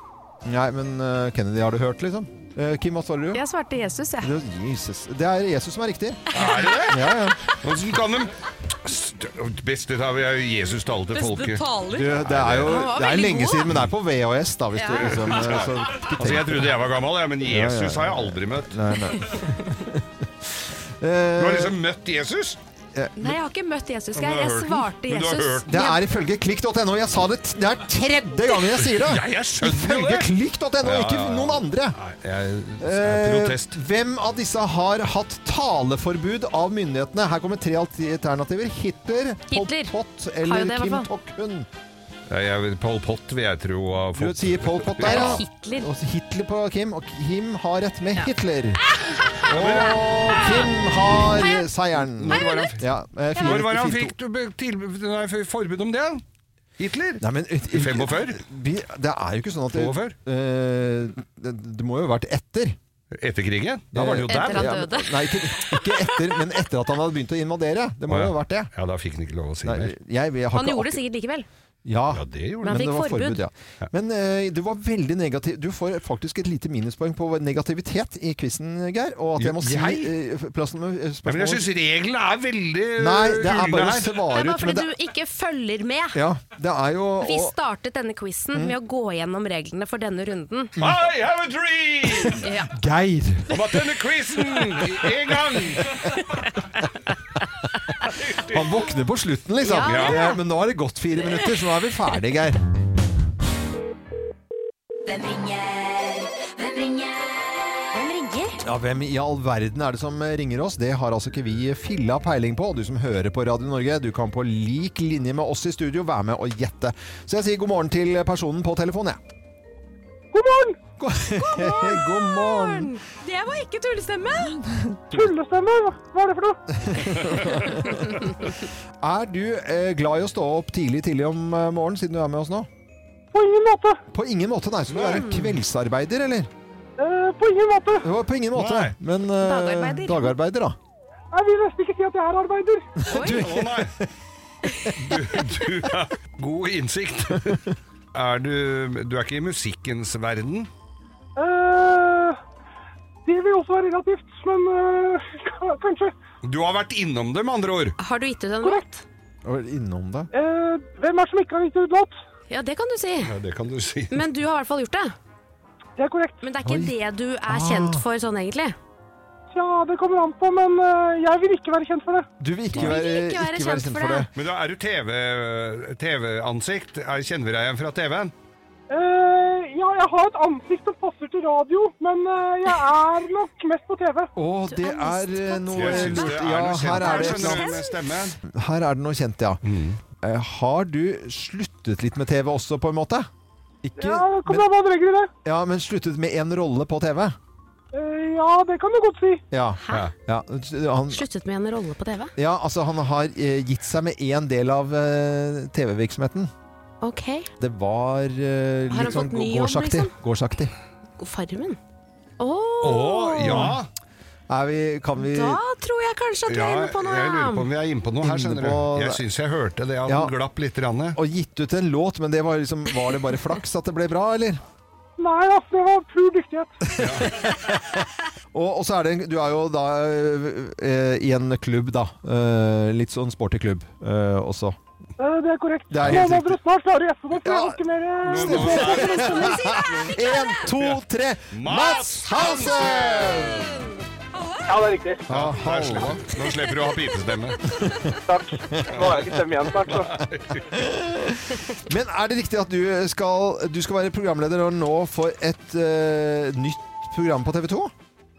[SPEAKER 1] Nei, men eh, Kennedy har du hørt, liksom. Eh, Kim, hva svarer du?
[SPEAKER 2] jeg svarte Jesus, jeg.
[SPEAKER 1] Det er Jesus. Det er Jesus som er riktig.
[SPEAKER 3] Er det det?
[SPEAKER 1] Ja, ja.
[SPEAKER 3] Hvordan kan de St- Beste da vil jeg- Jesus tale til folket.
[SPEAKER 1] Du,
[SPEAKER 8] taler.
[SPEAKER 1] det er jo
[SPEAKER 2] var
[SPEAKER 1] det er
[SPEAKER 2] veldig
[SPEAKER 1] lenge
[SPEAKER 2] god, da.
[SPEAKER 1] siden, men det er på VHS, da, hvis du
[SPEAKER 2] Ja.
[SPEAKER 1] liksom eh, så, ikke
[SPEAKER 3] Altså, jeg
[SPEAKER 1] tenk.
[SPEAKER 3] trodde jeg var gammel, ja, men
[SPEAKER 1] Ja, ja,
[SPEAKER 3] Jesus
[SPEAKER 1] ja.
[SPEAKER 3] har jeg aldri møtt.
[SPEAKER 1] Nei,
[SPEAKER 3] [laughs]
[SPEAKER 1] nei.
[SPEAKER 3] Du har
[SPEAKER 1] Eh,
[SPEAKER 3] liksom møtt Jesus?
[SPEAKER 2] Nei, jeg har ikke møtt Jesus,
[SPEAKER 3] Men
[SPEAKER 2] Geir.
[SPEAKER 3] du har
[SPEAKER 2] Jeg
[SPEAKER 3] hørt den.
[SPEAKER 2] svarte
[SPEAKER 3] Men du har
[SPEAKER 2] Jesus.
[SPEAKER 3] hørt
[SPEAKER 1] det er ifølge klikk.no. Jeg sa det, t- det er tredje gangen jeg sier
[SPEAKER 3] Ja,
[SPEAKER 1] det!
[SPEAKER 3] jeg skjønner jo
[SPEAKER 1] Ifølge
[SPEAKER 3] det!
[SPEAKER 1] klikk.no, ikke noen andre.
[SPEAKER 3] Nei, jeg, jeg
[SPEAKER 1] Eh,
[SPEAKER 3] protest.
[SPEAKER 1] hvem av disse har hatt taleforbud av myndighetene? Her kommer tre alternativer. Hitler, Pol
[SPEAKER 2] Hitler.
[SPEAKER 1] Pot
[SPEAKER 2] Har jo
[SPEAKER 1] eller
[SPEAKER 2] det, i hvert
[SPEAKER 1] Kim
[SPEAKER 2] fall.
[SPEAKER 1] Tok-hun.
[SPEAKER 3] Ja, jeg vil- Pol Pot vil jeg tro har
[SPEAKER 1] Du
[SPEAKER 3] fått
[SPEAKER 1] sier Pol Pot der, ja.
[SPEAKER 2] Hitler.
[SPEAKER 1] Og Hitler på Kim, og Kim har rett med
[SPEAKER 2] [laughs]
[SPEAKER 1] Hitler. Og Kim har seieren.
[SPEAKER 3] Når var han,
[SPEAKER 1] Ja, eh, fire-
[SPEAKER 3] når var han
[SPEAKER 1] fire-
[SPEAKER 3] fikk du be- tilbud- nei, f- forbud om det? Hitler?
[SPEAKER 1] Nei, men, ut-
[SPEAKER 3] I 45?
[SPEAKER 1] Vi, det er jo ikke sånn at det,
[SPEAKER 3] 42?
[SPEAKER 1] eh, det, det må jo ha vært etter.
[SPEAKER 3] Etter krigen? Da var det jo
[SPEAKER 2] Etter
[SPEAKER 3] der.
[SPEAKER 2] han
[SPEAKER 1] Ja, men-
[SPEAKER 2] døde.
[SPEAKER 1] Nei, ikke, ikke etter, men etter at han hadde begynt å invadere. Det må
[SPEAKER 3] Å, ja.
[SPEAKER 1] jo ha vært det.
[SPEAKER 3] Ja, da fikk han ikke lov å si
[SPEAKER 1] Nei,
[SPEAKER 3] mer.
[SPEAKER 1] jeg, jeg har ikke
[SPEAKER 2] Han gjorde
[SPEAKER 1] akkur-
[SPEAKER 2] det sikkert likevel.
[SPEAKER 1] Ja,
[SPEAKER 3] Ja, det
[SPEAKER 2] Men
[SPEAKER 3] gjorde han.
[SPEAKER 1] men
[SPEAKER 2] han
[SPEAKER 1] det
[SPEAKER 2] fikk
[SPEAKER 1] var
[SPEAKER 2] forbud.
[SPEAKER 1] forbud. Ja. Men eh, du var veldig negativ. Du får faktisk et lite minuspoeng på negativitet i quizen, Geir. Og at jeg må si
[SPEAKER 3] Jeg?
[SPEAKER 1] eh, plassen med eh,
[SPEAKER 3] Nei, Men jeg
[SPEAKER 1] spørsmål
[SPEAKER 3] syns reglene er veldig
[SPEAKER 1] Nei, det er
[SPEAKER 3] gylne
[SPEAKER 1] bare å
[SPEAKER 3] her.
[SPEAKER 2] Det
[SPEAKER 1] svare
[SPEAKER 2] er bare
[SPEAKER 1] ut. Men
[SPEAKER 2] fordi
[SPEAKER 1] det,
[SPEAKER 2] du ikke følger med.
[SPEAKER 1] ja, det er jo
[SPEAKER 2] Vi
[SPEAKER 1] og-
[SPEAKER 2] startet denne
[SPEAKER 3] Mm.
[SPEAKER 2] quizen med å gå gjennom reglene for denne runden.
[SPEAKER 3] I have a dream
[SPEAKER 1] Geir!
[SPEAKER 3] om at denne quizen en gang
[SPEAKER 1] Han våkner på slutten, liksom.
[SPEAKER 2] Ja,
[SPEAKER 3] ja,
[SPEAKER 2] ja.
[SPEAKER 1] Men nå har det gått fire minutter, så nå er vi ferdige, Geir.
[SPEAKER 9] Hvem ringer? Hvem ringer? Hvem ringer?
[SPEAKER 1] Ja, Hvem i all verden er det som ringer oss? Det har altså ikke vi filla peiling på. Du som hører på Radio Norge, du kan på lik linje med oss i studio være med og gjette. Så jeg sier god morgen til personen på telefonen, jeg.
[SPEAKER 10] God morgen!
[SPEAKER 1] God morgen! god morgen!
[SPEAKER 3] Mm.
[SPEAKER 2] Det var ikke tullestemme!
[SPEAKER 10] Tullestemme! Hva- Hva er det for noe?
[SPEAKER 1] Er du eh, glad i å stå opp tidlig tidlig om eh, morgenen, siden du er med oss nå?
[SPEAKER 10] På ingen måte!
[SPEAKER 1] På ingen måte, nei. Så du er en kveldsarbeider, eller?
[SPEAKER 10] Eh, på ingen måte!
[SPEAKER 1] Det var på ingen måte.
[SPEAKER 3] Nei.
[SPEAKER 1] Men eh,
[SPEAKER 2] Dagarbeider.
[SPEAKER 1] dagarbeider, da.
[SPEAKER 10] Jeg vil nesten ikke si at jeg er arbeider.
[SPEAKER 3] Å nei du, du har god innsikt Er du Du er ikke i musikkens verden
[SPEAKER 10] Eh, det vil også være relativt, men
[SPEAKER 5] [laughs]
[SPEAKER 10] eh, ka- kanskje.
[SPEAKER 3] Du har vært innom det med andre ord
[SPEAKER 2] Har du gitt ut en låt?
[SPEAKER 1] Jeg var innom deg.
[SPEAKER 10] Eh, hvem er det som ikke har gitt ut låt?
[SPEAKER 2] Ja, det kan du si.
[SPEAKER 3] Ja, det kan du si
[SPEAKER 2] Men du har i hvert fall gjort det.
[SPEAKER 10] Det er korrekt.
[SPEAKER 2] Men det er ikke
[SPEAKER 1] Oi.
[SPEAKER 2] det du er kjent
[SPEAKER 3] Ah.
[SPEAKER 2] for sånn egentlig.
[SPEAKER 10] Ja, det kommer an på, men eh, jeg vil ikke være kjent for det.
[SPEAKER 1] Du vil ikke,
[SPEAKER 2] vil
[SPEAKER 1] være,
[SPEAKER 2] ikke være
[SPEAKER 1] ikke være kjent for det.
[SPEAKER 3] Men da er du TV TV-ansikt Er- Kjenner vi deg igjen fra TV-en?
[SPEAKER 10] Eh, ja, jeg har et ansikt som passer til radio, men eh, jeg er nok mest på TV.
[SPEAKER 1] Å,
[SPEAKER 2] Du
[SPEAKER 1] det
[SPEAKER 2] er
[SPEAKER 1] er
[SPEAKER 2] mest
[SPEAKER 1] eh,
[SPEAKER 2] på
[SPEAKER 1] noe
[SPEAKER 3] Jeg synes det er
[SPEAKER 1] Ja,
[SPEAKER 3] noe
[SPEAKER 1] her er det et eller
[SPEAKER 3] kjent Skjønner
[SPEAKER 1] annet.
[SPEAKER 3] du med stemmen?
[SPEAKER 1] Her er det noe kjent, ja. Eh, Har du sluttet litt med TV også, på en måte? Ikke,
[SPEAKER 10] Ja, det
[SPEAKER 1] men,
[SPEAKER 10] kommer an på hva du legger i det.
[SPEAKER 1] ja, men sluttet med én rolle på TV?
[SPEAKER 10] Eh, ja, det kan du godt si.
[SPEAKER 1] Ja.
[SPEAKER 3] Ja.
[SPEAKER 1] ja. Han,
[SPEAKER 2] Sluttet med en rolle på TV?
[SPEAKER 1] ja altså, han har eh, gitt seg med én del av eh, TV-virksomheten.
[SPEAKER 2] Ok.
[SPEAKER 1] Det var eh,
[SPEAKER 2] Har han
[SPEAKER 1] litt sånn
[SPEAKER 2] fått ny
[SPEAKER 1] gå-
[SPEAKER 2] jobb,
[SPEAKER 1] gårdsaktig.
[SPEAKER 2] liksom?
[SPEAKER 1] Gårdsaktig.
[SPEAKER 2] Farmen. Å!
[SPEAKER 3] Å, ja
[SPEAKER 1] Er vi, kan vi
[SPEAKER 2] Da tror jeg kanskje at vi
[SPEAKER 6] Ja,
[SPEAKER 2] er
[SPEAKER 6] jeg
[SPEAKER 2] inne på noe.
[SPEAKER 6] lurer på om vi er inne på noe her,
[SPEAKER 1] Inne
[SPEAKER 6] skjønner du.
[SPEAKER 1] på-
[SPEAKER 6] Jeg syns jeg hørte det, at
[SPEAKER 1] Ja.
[SPEAKER 6] den glapp litt. Rann.
[SPEAKER 1] Og gitt ut en låt, men det var, liksom, var det bare flaks at det ble bra, eller?
[SPEAKER 5] Nei, altså, det var pur dyktighet.
[SPEAKER 1] Og, og så er det en, Du er jo da eh, i en klubb, da. Eh, litt sånn sporty klubb eh, også.
[SPEAKER 5] Eh, Det er korrekt.
[SPEAKER 1] Det er helt
[SPEAKER 5] Nå må dere snart klare gjesten opp.
[SPEAKER 1] Ja.
[SPEAKER 5] Jeg orker mer. eh,
[SPEAKER 1] Én, to, tre Mats Hansen!
[SPEAKER 10] Ja, det er riktig.
[SPEAKER 1] Ja,
[SPEAKER 6] Nå
[SPEAKER 1] hallo.
[SPEAKER 6] slipper- nå slipper du å ha pipestemme.
[SPEAKER 10] Takk. Nå har jeg ikke stemme igjen snart, så.
[SPEAKER 1] Men er det riktig at du skal, du skal være programleder nå for et eh, nytt program på TV 2?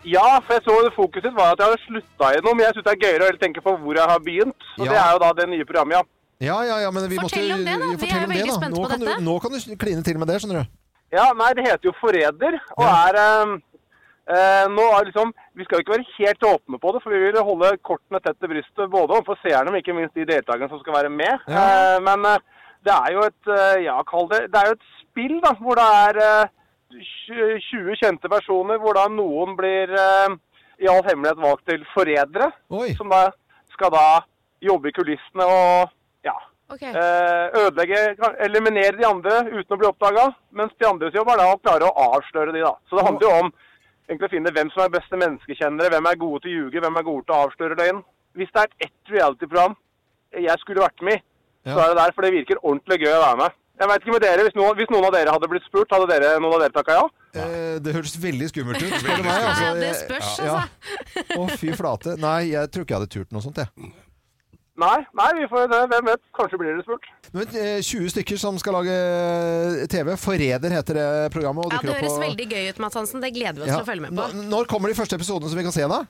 [SPEAKER 10] Ja, for jeg så det fokuset ditt var at jeg hadde slutta i noe, men jeg syns det er gøyere å heller tenke på hvor jeg har begynt. Og
[SPEAKER 1] Ja.
[SPEAKER 10] det er jo da det nye programmet, ja.
[SPEAKER 1] Ja, ja, ja, men vi
[SPEAKER 2] Fortell
[SPEAKER 1] måtte,
[SPEAKER 2] om det, da.
[SPEAKER 1] ja,
[SPEAKER 2] Vi
[SPEAKER 1] fortell
[SPEAKER 2] er
[SPEAKER 1] om
[SPEAKER 2] veldig
[SPEAKER 1] det, da.
[SPEAKER 2] spent
[SPEAKER 1] nå
[SPEAKER 2] på
[SPEAKER 1] kan
[SPEAKER 2] dette.
[SPEAKER 1] Du, nå kan du kline til med det, skjønner du.
[SPEAKER 10] Ja, nei, det heter jo Forræder, og
[SPEAKER 1] Ja.
[SPEAKER 10] er eh, eh, nå er liksom, Vi skal jo ikke være helt åpne på det, for vi vil holde kortene tett til brystet både overfor seerne, men ikke minst de deltakerne som skal være med.
[SPEAKER 1] Ja.
[SPEAKER 10] Eh, men eh, det er jo et eh, ja, kall det, det er jo et spill da, hvor det er eh, tj- 20 kjente personer, hvor da noen blir eh, i all hemmelighet valgt til forrædere,
[SPEAKER 1] Oi.
[SPEAKER 10] som da skal da jobbe i kulissene og ja,
[SPEAKER 2] Ok.
[SPEAKER 10] Eh, ødelegge, kan- eliminere de andre uten å bli oppdaga. Mens de andres jobb er da å klare å avsløre de, da. Så det handler jo om egentlig å finne hvem som er beste menneskekjennere, hvem er gode til å ljuge, hvem er gode til å avsløre løgn. Hvis det er ett reality-program jeg skulle vært med i, så
[SPEAKER 1] Ja.
[SPEAKER 10] er det der, for det virker ordentlig gøy å være med. Jeg vet ikke med dere, hvis noen, hvis noen av dere hadde blitt spurt, hadde dere, noen av dere takka ja?
[SPEAKER 1] Eh, det høres veldig skummelt ut. Spør du meg,
[SPEAKER 2] Ja,
[SPEAKER 1] altså.
[SPEAKER 2] det spørs,
[SPEAKER 1] Ja.
[SPEAKER 2] altså.
[SPEAKER 1] Å, fy flate. Nei, jeg tror ikke jeg hadde turt noe sånt, jeg.
[SPEAKER 10] Nei, nei, vi får det. Hvem vet? Kanskje blir dere spurt.
[SPEAKER 1] Men eh, 20 stykker som skal lage TV. 'Forræder' heter det programmet. Og
[SPEAKER 2] Ja,
[SPEAKER 1] dukker
[SPEAKER 2] det
[SPEAKER 1] opp
[SPEAKER 2] høres
[SPEAKER 1] på-
[SPEAKER 2] veldig gøy ut, Mads Hansen. Det gleder vi oss
[SPEAKER 1] Ja.
[SPEAKER 2] til å følge med på.
[SPEAKER 1] N- Når kommer de første episodene som vi kan se, da?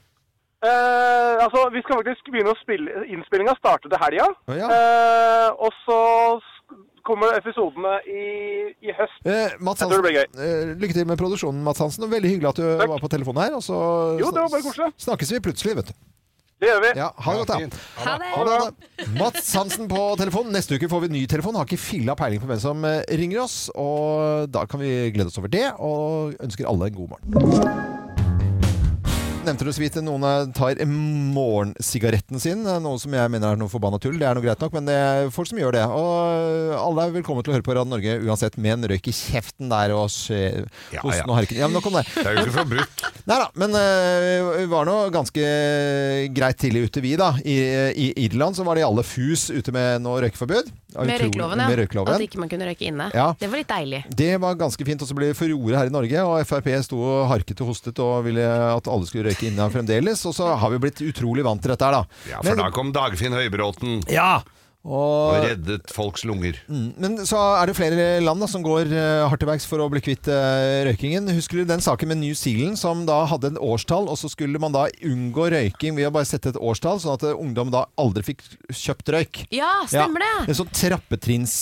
[SPEAKER 10] Eh, altså, vi skal faktisk begynne å spille Innspillinga startet i helga.
[SPEAKER 1] Å, ja.
[SPEAKER 10] Eh, og så sk- kommer episodene i, i høst.
[SPEAKER 1] Eh, Mats
[SPEAKER 10] Jeg tror det
[SPEAKER 1] Hansen, eh, lykke til med produksjonen, Mats Hansen. og Veldig hyggelig at du var på telefonen her. Og så
[SPEAKER 10] Jo, det var bare koselig.
[SPEAKER 1] snakkes vi plutselig, vet du.
[SPEAKER 10] Det gjør vi.
[SPEAKER 1] Ja, ha det godt,
[SPEAKER 6] fint.
[SPEAKER 1] da.
[SPEAKER 2] Ha det!
[SPEAKER 1] Ha det, ha det. Mats Hansen på telefon. Neste uke får vi ny telefon. Har ikke filla peiling på hvem som eh, ringer oss. Og da kan vi glede oss over det, og ønsker alle en god morgen. Nevnte du så vidt noen eh, tar morgensigaretten sin. eh, Noe som jeg mener er noe forbanna tull. Det er noe greit nok, men det er folk som gjør det. Og eh, alle er velkommen til å høre på Radio Norge uansett, med en røyk i kjeften der og skje-
[SPEAKER 6] Ja,
[SPEAKER 1] hosten
[SPEAKER 6] ja.
[SPEAKER 1] og harken. Ja, men nok om det.
[SPEAKER 6] Det er jo ikke forbudt.
[SPEAKER 1] Nei da, men eh, vi var nå ganske greit tidlig ute, vi da. I, i Irland så var de alle fus ute med noe røykeforbud. Ja,
[SPEAKER 2] Med
[SPEAKER 1] utrolig-
[SPEAKER 2] røykeloven, ja.
[SPEAKER 1] Med
[SPEAKER 2] At
[SPEAKER 1] røykeloven.
[SPEAKER 2] ikke man kunne røyke inne.
[SPEAKER 1] Ja.
[SPEAKER 2] Det var litt deilig.
[SPEAKER 1] Det var ganske fint, og så ble det furore her i Norge. Og Frp sto og harket og hostet og ville at alle skulle røyke inne fremdeles. Og så har vi blitt utrolig vant til dette her, da.
[SPEAKER 6] Ja, for
[SPEAKER 1] Men-
[SPEAKER 6] da kom Dagfinn Høybråten
[SPEAKER 1] Ja! Mm.
[SPEAKER 6] og
[SPEAKER 1] Og,
[SPEAKER 6] reddet folks lunger.
[SPEAKER 1] men så er det flere land da, som går eh, hardt til verks for å bli kvitt eh, røykingen. Husker du den saken med New Zealand som da hadde en årstall, og så skulle man da unngå røyking ved å bare sette et årstall, sånn at eh, ungdom da aldri fikk kjøpt røyk.
[SPEAKER 2] Ja, stemmer
[SPEAKER 1] Ja,
[SPEAKER 2] det!
[SPEAKER 1] En sånn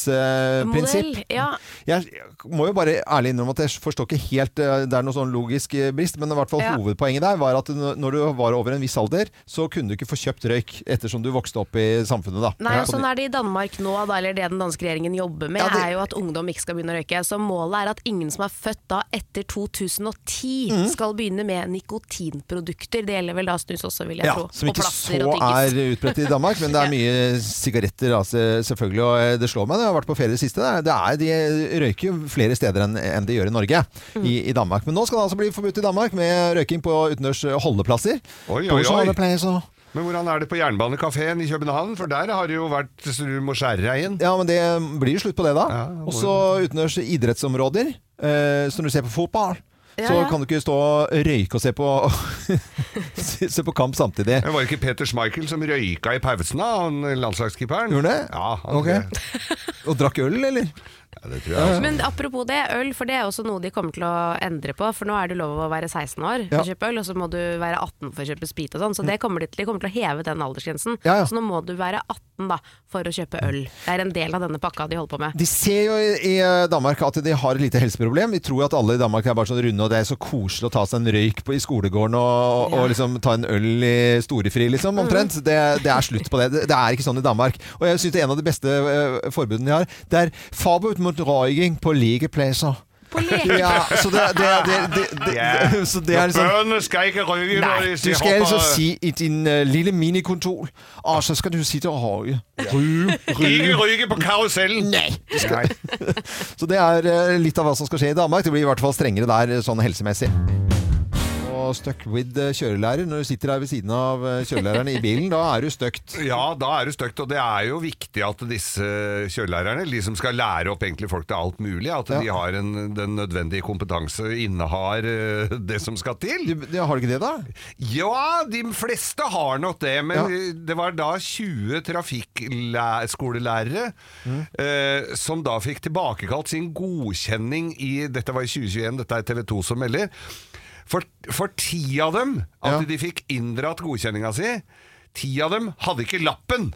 [SPEAKER 1] trappetrinnsprinsipp.
[SPEAKER 2] Modell. Ja.
[SPEAKER 1] Jeg jeg må jo bare ærlig innrømme at jeg forstår ikke helt eh, Det er noe sånn logisk eh, brist, men i hvert fall
[SPEAKER 2] Ja.
[SPEAKER 1] hovedpoenget der var at n- når du var over en viss alder, så kunne du ikke få kjøpt røyk ettersom du vokste opp i samfunnet, da.
[SPEAKER 2] Nei,
[SPEAKER 1] Ja.
[SPEAKER 2] og sånn er det i Danmark nå, da, eller det den danske regjeringen jobber med,
[SPEAKER 1] Ja, det-
[SPEAKER 2] er jo at ungdom ikke skal begynne å røyke. Så målet er at ingen som er født da etter 2010
[SPEAKER 1] Mhm.
[SPEAKER 2] skal begynne med nikotinprodukter. Det gjelder vel da snus også, vil jeg
[SPEAKER 1] ja,
[SPEAKER 2] tro.
[SPEAKER 1] som ikke så
[SPEAKER 2] plaster
[SPEAKER 1] er utbredt i Danmark, men det
[SPEAKER 2] [laughs]
[SPEAKER 1] er mye sigaretter da, se- selvfølgelig. Og eh, det slår meg, når jeg har vært på ferie det siste, det er- det er, de røyker jo flere steder enn enn de gjør i Norge.
[SPEAKER 2] Mm.
[SPEAKER 1] I, I Danmark. Men nå skal det altså bli forbudt i Danmark med røyking på utendørs eh, holdeplasser.
[SPEAKER 6] Oi, oi,
[SPEAKER 1] På
[SPEAKER 6] oi.
[SPEAKER 1] holdeplasser og-
[SPEAKER 6] Men hvordan er det på Jernbanekafeen i København? For der har det jo vært så du må skjære deg inn.
[SPEAKER 1] Ja, men det blir slutt på det da.
[SPEAKER 6] Ja, det må
[SPEAKER 1] og så utenlands idrettsområder, eh, som du ser på fotball.
[SPEAKER 2] Ja,
[SPEAKER 1] så
[SPEAKER 2] ja.
[SPEAKER 1] kan du ikke stå og røyke og se på, [laughs] se på kamp samtidig.
[SPEAKER 6] Det var ikke Peter Schmeichel som røyka i pausen, da, han landslagskeeperen?
[SPEAKER 1] Gjorde han det?
[SPEAKER 6] Ja, han
[SPEAKER 1] Ok.
[SPEAKER 6] gjorde det.
[SPEAKER 1] Og drakk øl, eller?
[SPEAKER 6] ja, det tror
[SPEAKER 1] [laughs]
[SPEAKER 6] jeg.
[SPEAKER 2] Men apropos det, øl, for det er også noe de kommer til å endre på. For nå er det lov å være 16 år for
[SPEAKER 1] Ja. Mm.
[SPEAKER 2] å kjøpe øl, og så må du være 18 for å kjøpe sprit og sånn. Så det kommer de, til, de kommer til å heve den aldersgrensen.
[SPEAKER 1] Ja, ja.
[SPEAKER 2] Så nå må du være 18 da, for å kjøpe øl. Det er en del av denne pakka de holder på med.
[SPEAKER 1] De ser jo i i Danmark at de har et lite helseproblem. De tror at alle i Danmark er bare sånn runde, og det er så koselig å ta seg en røyk på, i skolegården og, og liksom ta en øl i storefri, liksom, omtrent. Det, det er slutt på det. det. Det er ikke sånn i Danmark. Og jeg syns en av de beste eh, forbudene de har, det er forbud mot røyking på legeplasser.
[SPEAKER 2] På på leker.
[SPEAKER 1] Ja, så det, det, det, det, det,
[SPEAKER 3] Ja.
[SPEAKER 1] [laughs] Så det er liksom
[SPEAKER 3] Børnene skal ikke ryge når de
[SPEAKER 1] Du skal altså
[SPEAKER 3] hopper.
[SPEAKER 1] si i din øh, lille minikontor, og så skal du sitte og høje. Ryge,
[SPEAKER 3] Ikke
[SPEAKER 1] ryge.
[SPEAKER 3] ryge på karusellen!
[SPEAKER 1] Nei.
[SPEAKER 3] Det skal... Nei.
[SPEAKER 1] Så det er eh, litt av hva som skal skje i Danmark. Det blir i hvert fall strengere der eh, sånn helsemessig. Og stuck with eh, kjørelærer. Når du sitter her ved siden av eh, kjørelæreren i bilen, da er du støkt.
[SPEAKER 3] Ja, da er det støkt, og det er jo viktig at disse kjørelærerne, de som skal lære opp egentlig folk til alt mulig, at de har en, den nødvendige kompetanse, innehar eh, det som skal
[SPEAKER 1] Du,
[SPEAKER 3] til.
[SPEAKER 1] ja, har du ikke det, da?
[SPEAKER 3] Ja, de fleste har nok det, men
[SPEAKER 1] Ja.
[SPEAKER 3] det var da 20 trafikkskolelærere
[SPEAKER 1] Mm.
[SPEAKER 3] eh, som da fikk tilbakekalt sin godkjenning i, dette var i 2021, dette er TV 2 som melder, for, for ti av dem, at
[SPEAKER 1] Ja.
[SPEAKER 3] de fikk inndratt godkjenninga si, ti av dem hadde ikke lappen.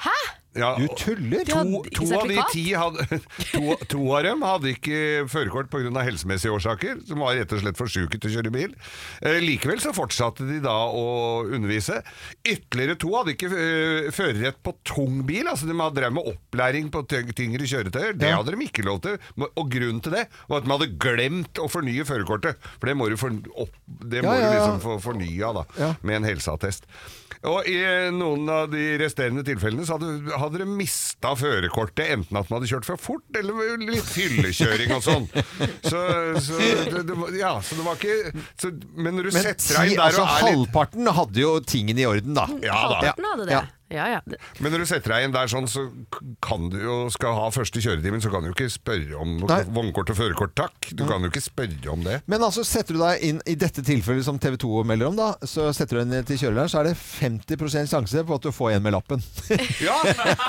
[SPEAKER 3] Hæ? Ja,
[SPEAKER 1] Du
[SPEAKER 3] og-
[SPEAKER 1] tuller!
[SPEAKER 2] Ja,
[SPEAKER 3] To,
[SPEAKER 2] ikke
[SPEAKER 3] to, av de
[SPEAKER 2] sertifikat?
[SPEAKER 3] ti hadde, [laughs] to, to av dem hadde ikke førerkort pga. helsemessige årsaker, som var rett og slett for sjuke til å kjøre bil. Eh, likevel så fortsatte de da å undervise. Ytterligere to hadde ikke eh, førerrett på tung bil, altså de hadde drevet med opplæring på tyng- tyngre kjøretøyer. Det
[SPEAKER 1] Ja.
[SPEAKER 3] hadde de ikke lov til, og grunnen til det var at de hadde glemt å fornye førerkortet. For det må du, for, opp, det
[SPEAKER 1] Ja,
[SPEAKER 3] må
[SPEAKER 1] ja,
[SPEAKER 3] du
[SPEAKER 1] ja.
[SPEAKER 3] liksom få fornya da,
[SPEAKER 1] Ja.
[SPEAKER 3] med en helseattest. Og i noen av de resterende tilfellene så hadde, hadde de mista førerkortet, enten at man hadde kjørt for fort, eller litt fyllekjøring og
[SPEAKER 1] [laughs]
[SPEAKER 3] sånn. Så, så, det, det, var- ja, så det var ikke så, Men når du
[SPEAKER 1] Men ti,
[SPEAKER 3] setter deg inn der
[SPEAKER 1] altså,
[SPEAKER 3] og er litt
[SPEAKER 1] halvparten hadde jo tingene i orden, da.
[SPEAKER 3] Ja da.
[SPEAKER 2] Halvparten hadde det.
[SPEAKER 1] Ja.
[SPEAKER 2] Ja, ja. Det-
[SPEAKER 3] Men når du setter deg inn der sånn, så kan du jo skal ha første kjøretimen, så kan du jo ikke spørre om
[SPEAKER 1] Nei.
[SPEAKER 3] vognkort og førerkort, takk. Du kan jo ikke spørre om det.
[SPEAKER 1] Men altså, setter du deg inn i dette tilfellet som TV 2 melder om, da, så setter du deg inn til kjørelæreren, så er det 50 sjanse på at du får en med lappen.
[SPEAKER 3] Ja!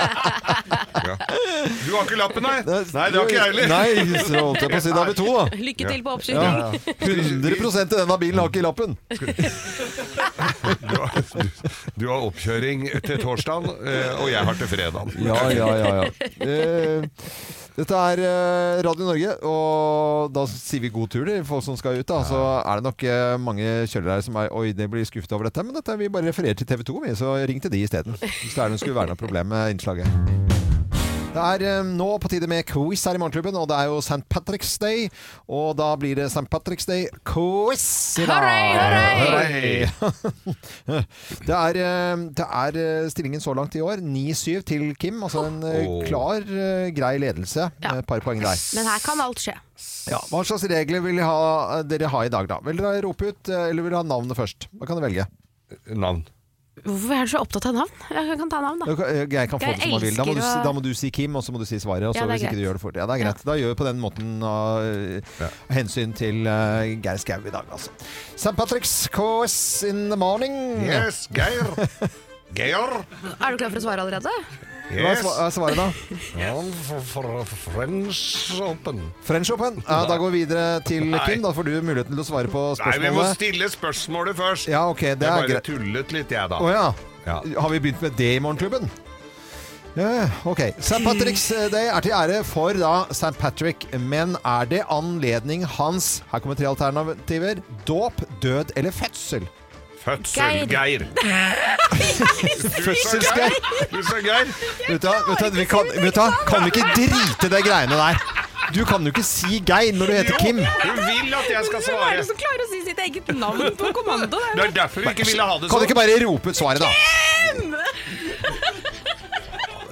[SPEAKER 1] [laughs]
[SPEAKER 3] ja. Du har ikke lappen, nei? Nei, det har ikke jeg heller.
[SPEAKER 1] Nei, så holdt jeg på å si. Da har vi to, da.
[SPEAKER 2] Lykke til
[SPEAKER 1] Ja,
[SPEAKER 2] på oppskyting.
[SPEAKER 1] 100 i denne bilen har ikke lappen.
[SPEAKER 3] Du har, du, du har oppkjøring til torsdag, eh, og jeg har til fredag.
[SPEAKER 1] Ja, ja, ja. ja. Eh, dette er eh, Radio Norge, og da sier vi god tur til folk som skal ut. da Så er det nok eh, mange kjørelærere som er Oi, det blir skuffet over dette, men dette vi bare refererer til TV 2, vi, så ring til de isteden. Hvis det er noen skulle være noe problem med innslaget. Det er eh, nå på tide med quiz her i Morgenklubben, og det er jo St. Patrick's Day. Og da blir det St. Patrick's Day-quiz i dag.
[SPEAKER 2] Hurray, hurray!
[SPEAKER 3] Hurray!
[SPEAKER 1] [laughs] det, er, eh, det er eh, stillingen så langt i år. 9-7 til Kim. Altså en eh,
[SPEAKER 3] Åh.
[SPEAKER 1] klar, eh, grei ledelse.
[SPEAKER 2] Ja.
[SPEAKER 1] Et par poeng der.
[SPEAKER 2] Men her kan alt skje.
[SPEAKER 1] Ja, hva slags regler vil ha, eh, dere ha i dag, da? Vil dere rope ut, eh, eller vil dere ha navnet først? Hva kan dere velge?
[SPEAKER 3] Navn.
[SPEAKER 2] Hvorfor er du så opptatt av navn? Jeg kan ta navn, da.
[SPEAKER 1] Jeg kan- Jeg eh, kan få
[SPEAKER 2] Jeg
[SPEAKER 1] det som jeg vil. Da må, du, si-
[SPEAKER 2] elsker å-
[SPEAKER 1] da må du si Kim, og så må du si svaret. Og så
[SPEAKER 2] Ja, det er
[SPEAKER 1] hvis ikke du
[SPEAKER 2] greit.
[SPEAKER 1] gjør det fort. Ja, det er greit. Da gjør vi på den måten av eh, hensyn til eh, Geir Skau i dag, altså. St. Patrick's KS in the morning.
[SPEAKER 3] Yes, Geir. Geir.
[SPEAKER 2] Er du klar for å svare allerede?
[SPEAKER 1] Hva er
[SPEAKER 3] Yes.
[SPEAKER 1] sva- er svaret, da?
[SPEAKER 3] For, for, French Open.
[SPEAKER 1] French Open.
[SPEAKER 3] [laughs]
[SPEAKER 1] Ja, da går vi videre til Kim. Da får du muligheten til å svare på
[SPEAKER 3] Nei, vi må
[SPEAKER 1] spørsmålet.
[SPEAKER 3] stille spørsmålet først.
[SPEAKER 1] Ja, ok, det
[SPEAKER 3] jeg
[SPEAKER 1] er
[SPEAKER 3] bare
[SPEAKER 1] greit.
[SPEAKER 3] tullet litt, jeg, da.
[SPEAKER 1] Å ja.
[SPEAKER 3] Ja.
[SPEAKER 1] Har vi begynt med det i Morgenklubben? Ja, ok. St. Patrick's Day er til ære for da St. Patrick, men er det anledning hans Her kommer tre alternativer. Dåp, død eller fødsel?
[SPEAKER 3] Fødsel
[SPEAKER 2] [laughs]
[SPEAKER 3] Geir.
[SPEAKER 1] Fødselsgeir?
[SPEAKER 3] Du sa Geir.
[SPEAKER 1] Vet du hva, vet du hva, vi kan, vet du hva, kan vi ikke drite de greiene der? Du kan jo ikke si Geir når du heter Kim.
[SPEAKER 3] Du vil at jeg
[SPEAKER 2] Hvem er
[SPEAKER 3] skal
[SPEAKER 2] det
[SPEAKER 3] svare.
[SPEAKER 2] som klarer å si sitt eget navn på kommando?
[SPEAKER 3] Det er derfor du ikke ville ha
[SPEAKER 1] Kan
[SPEAKER 3] det
[SPEAKER 1] du
[SPEAKER 3] sånn.
[SPEAKER 1] ikke bare rope ut svaret, da?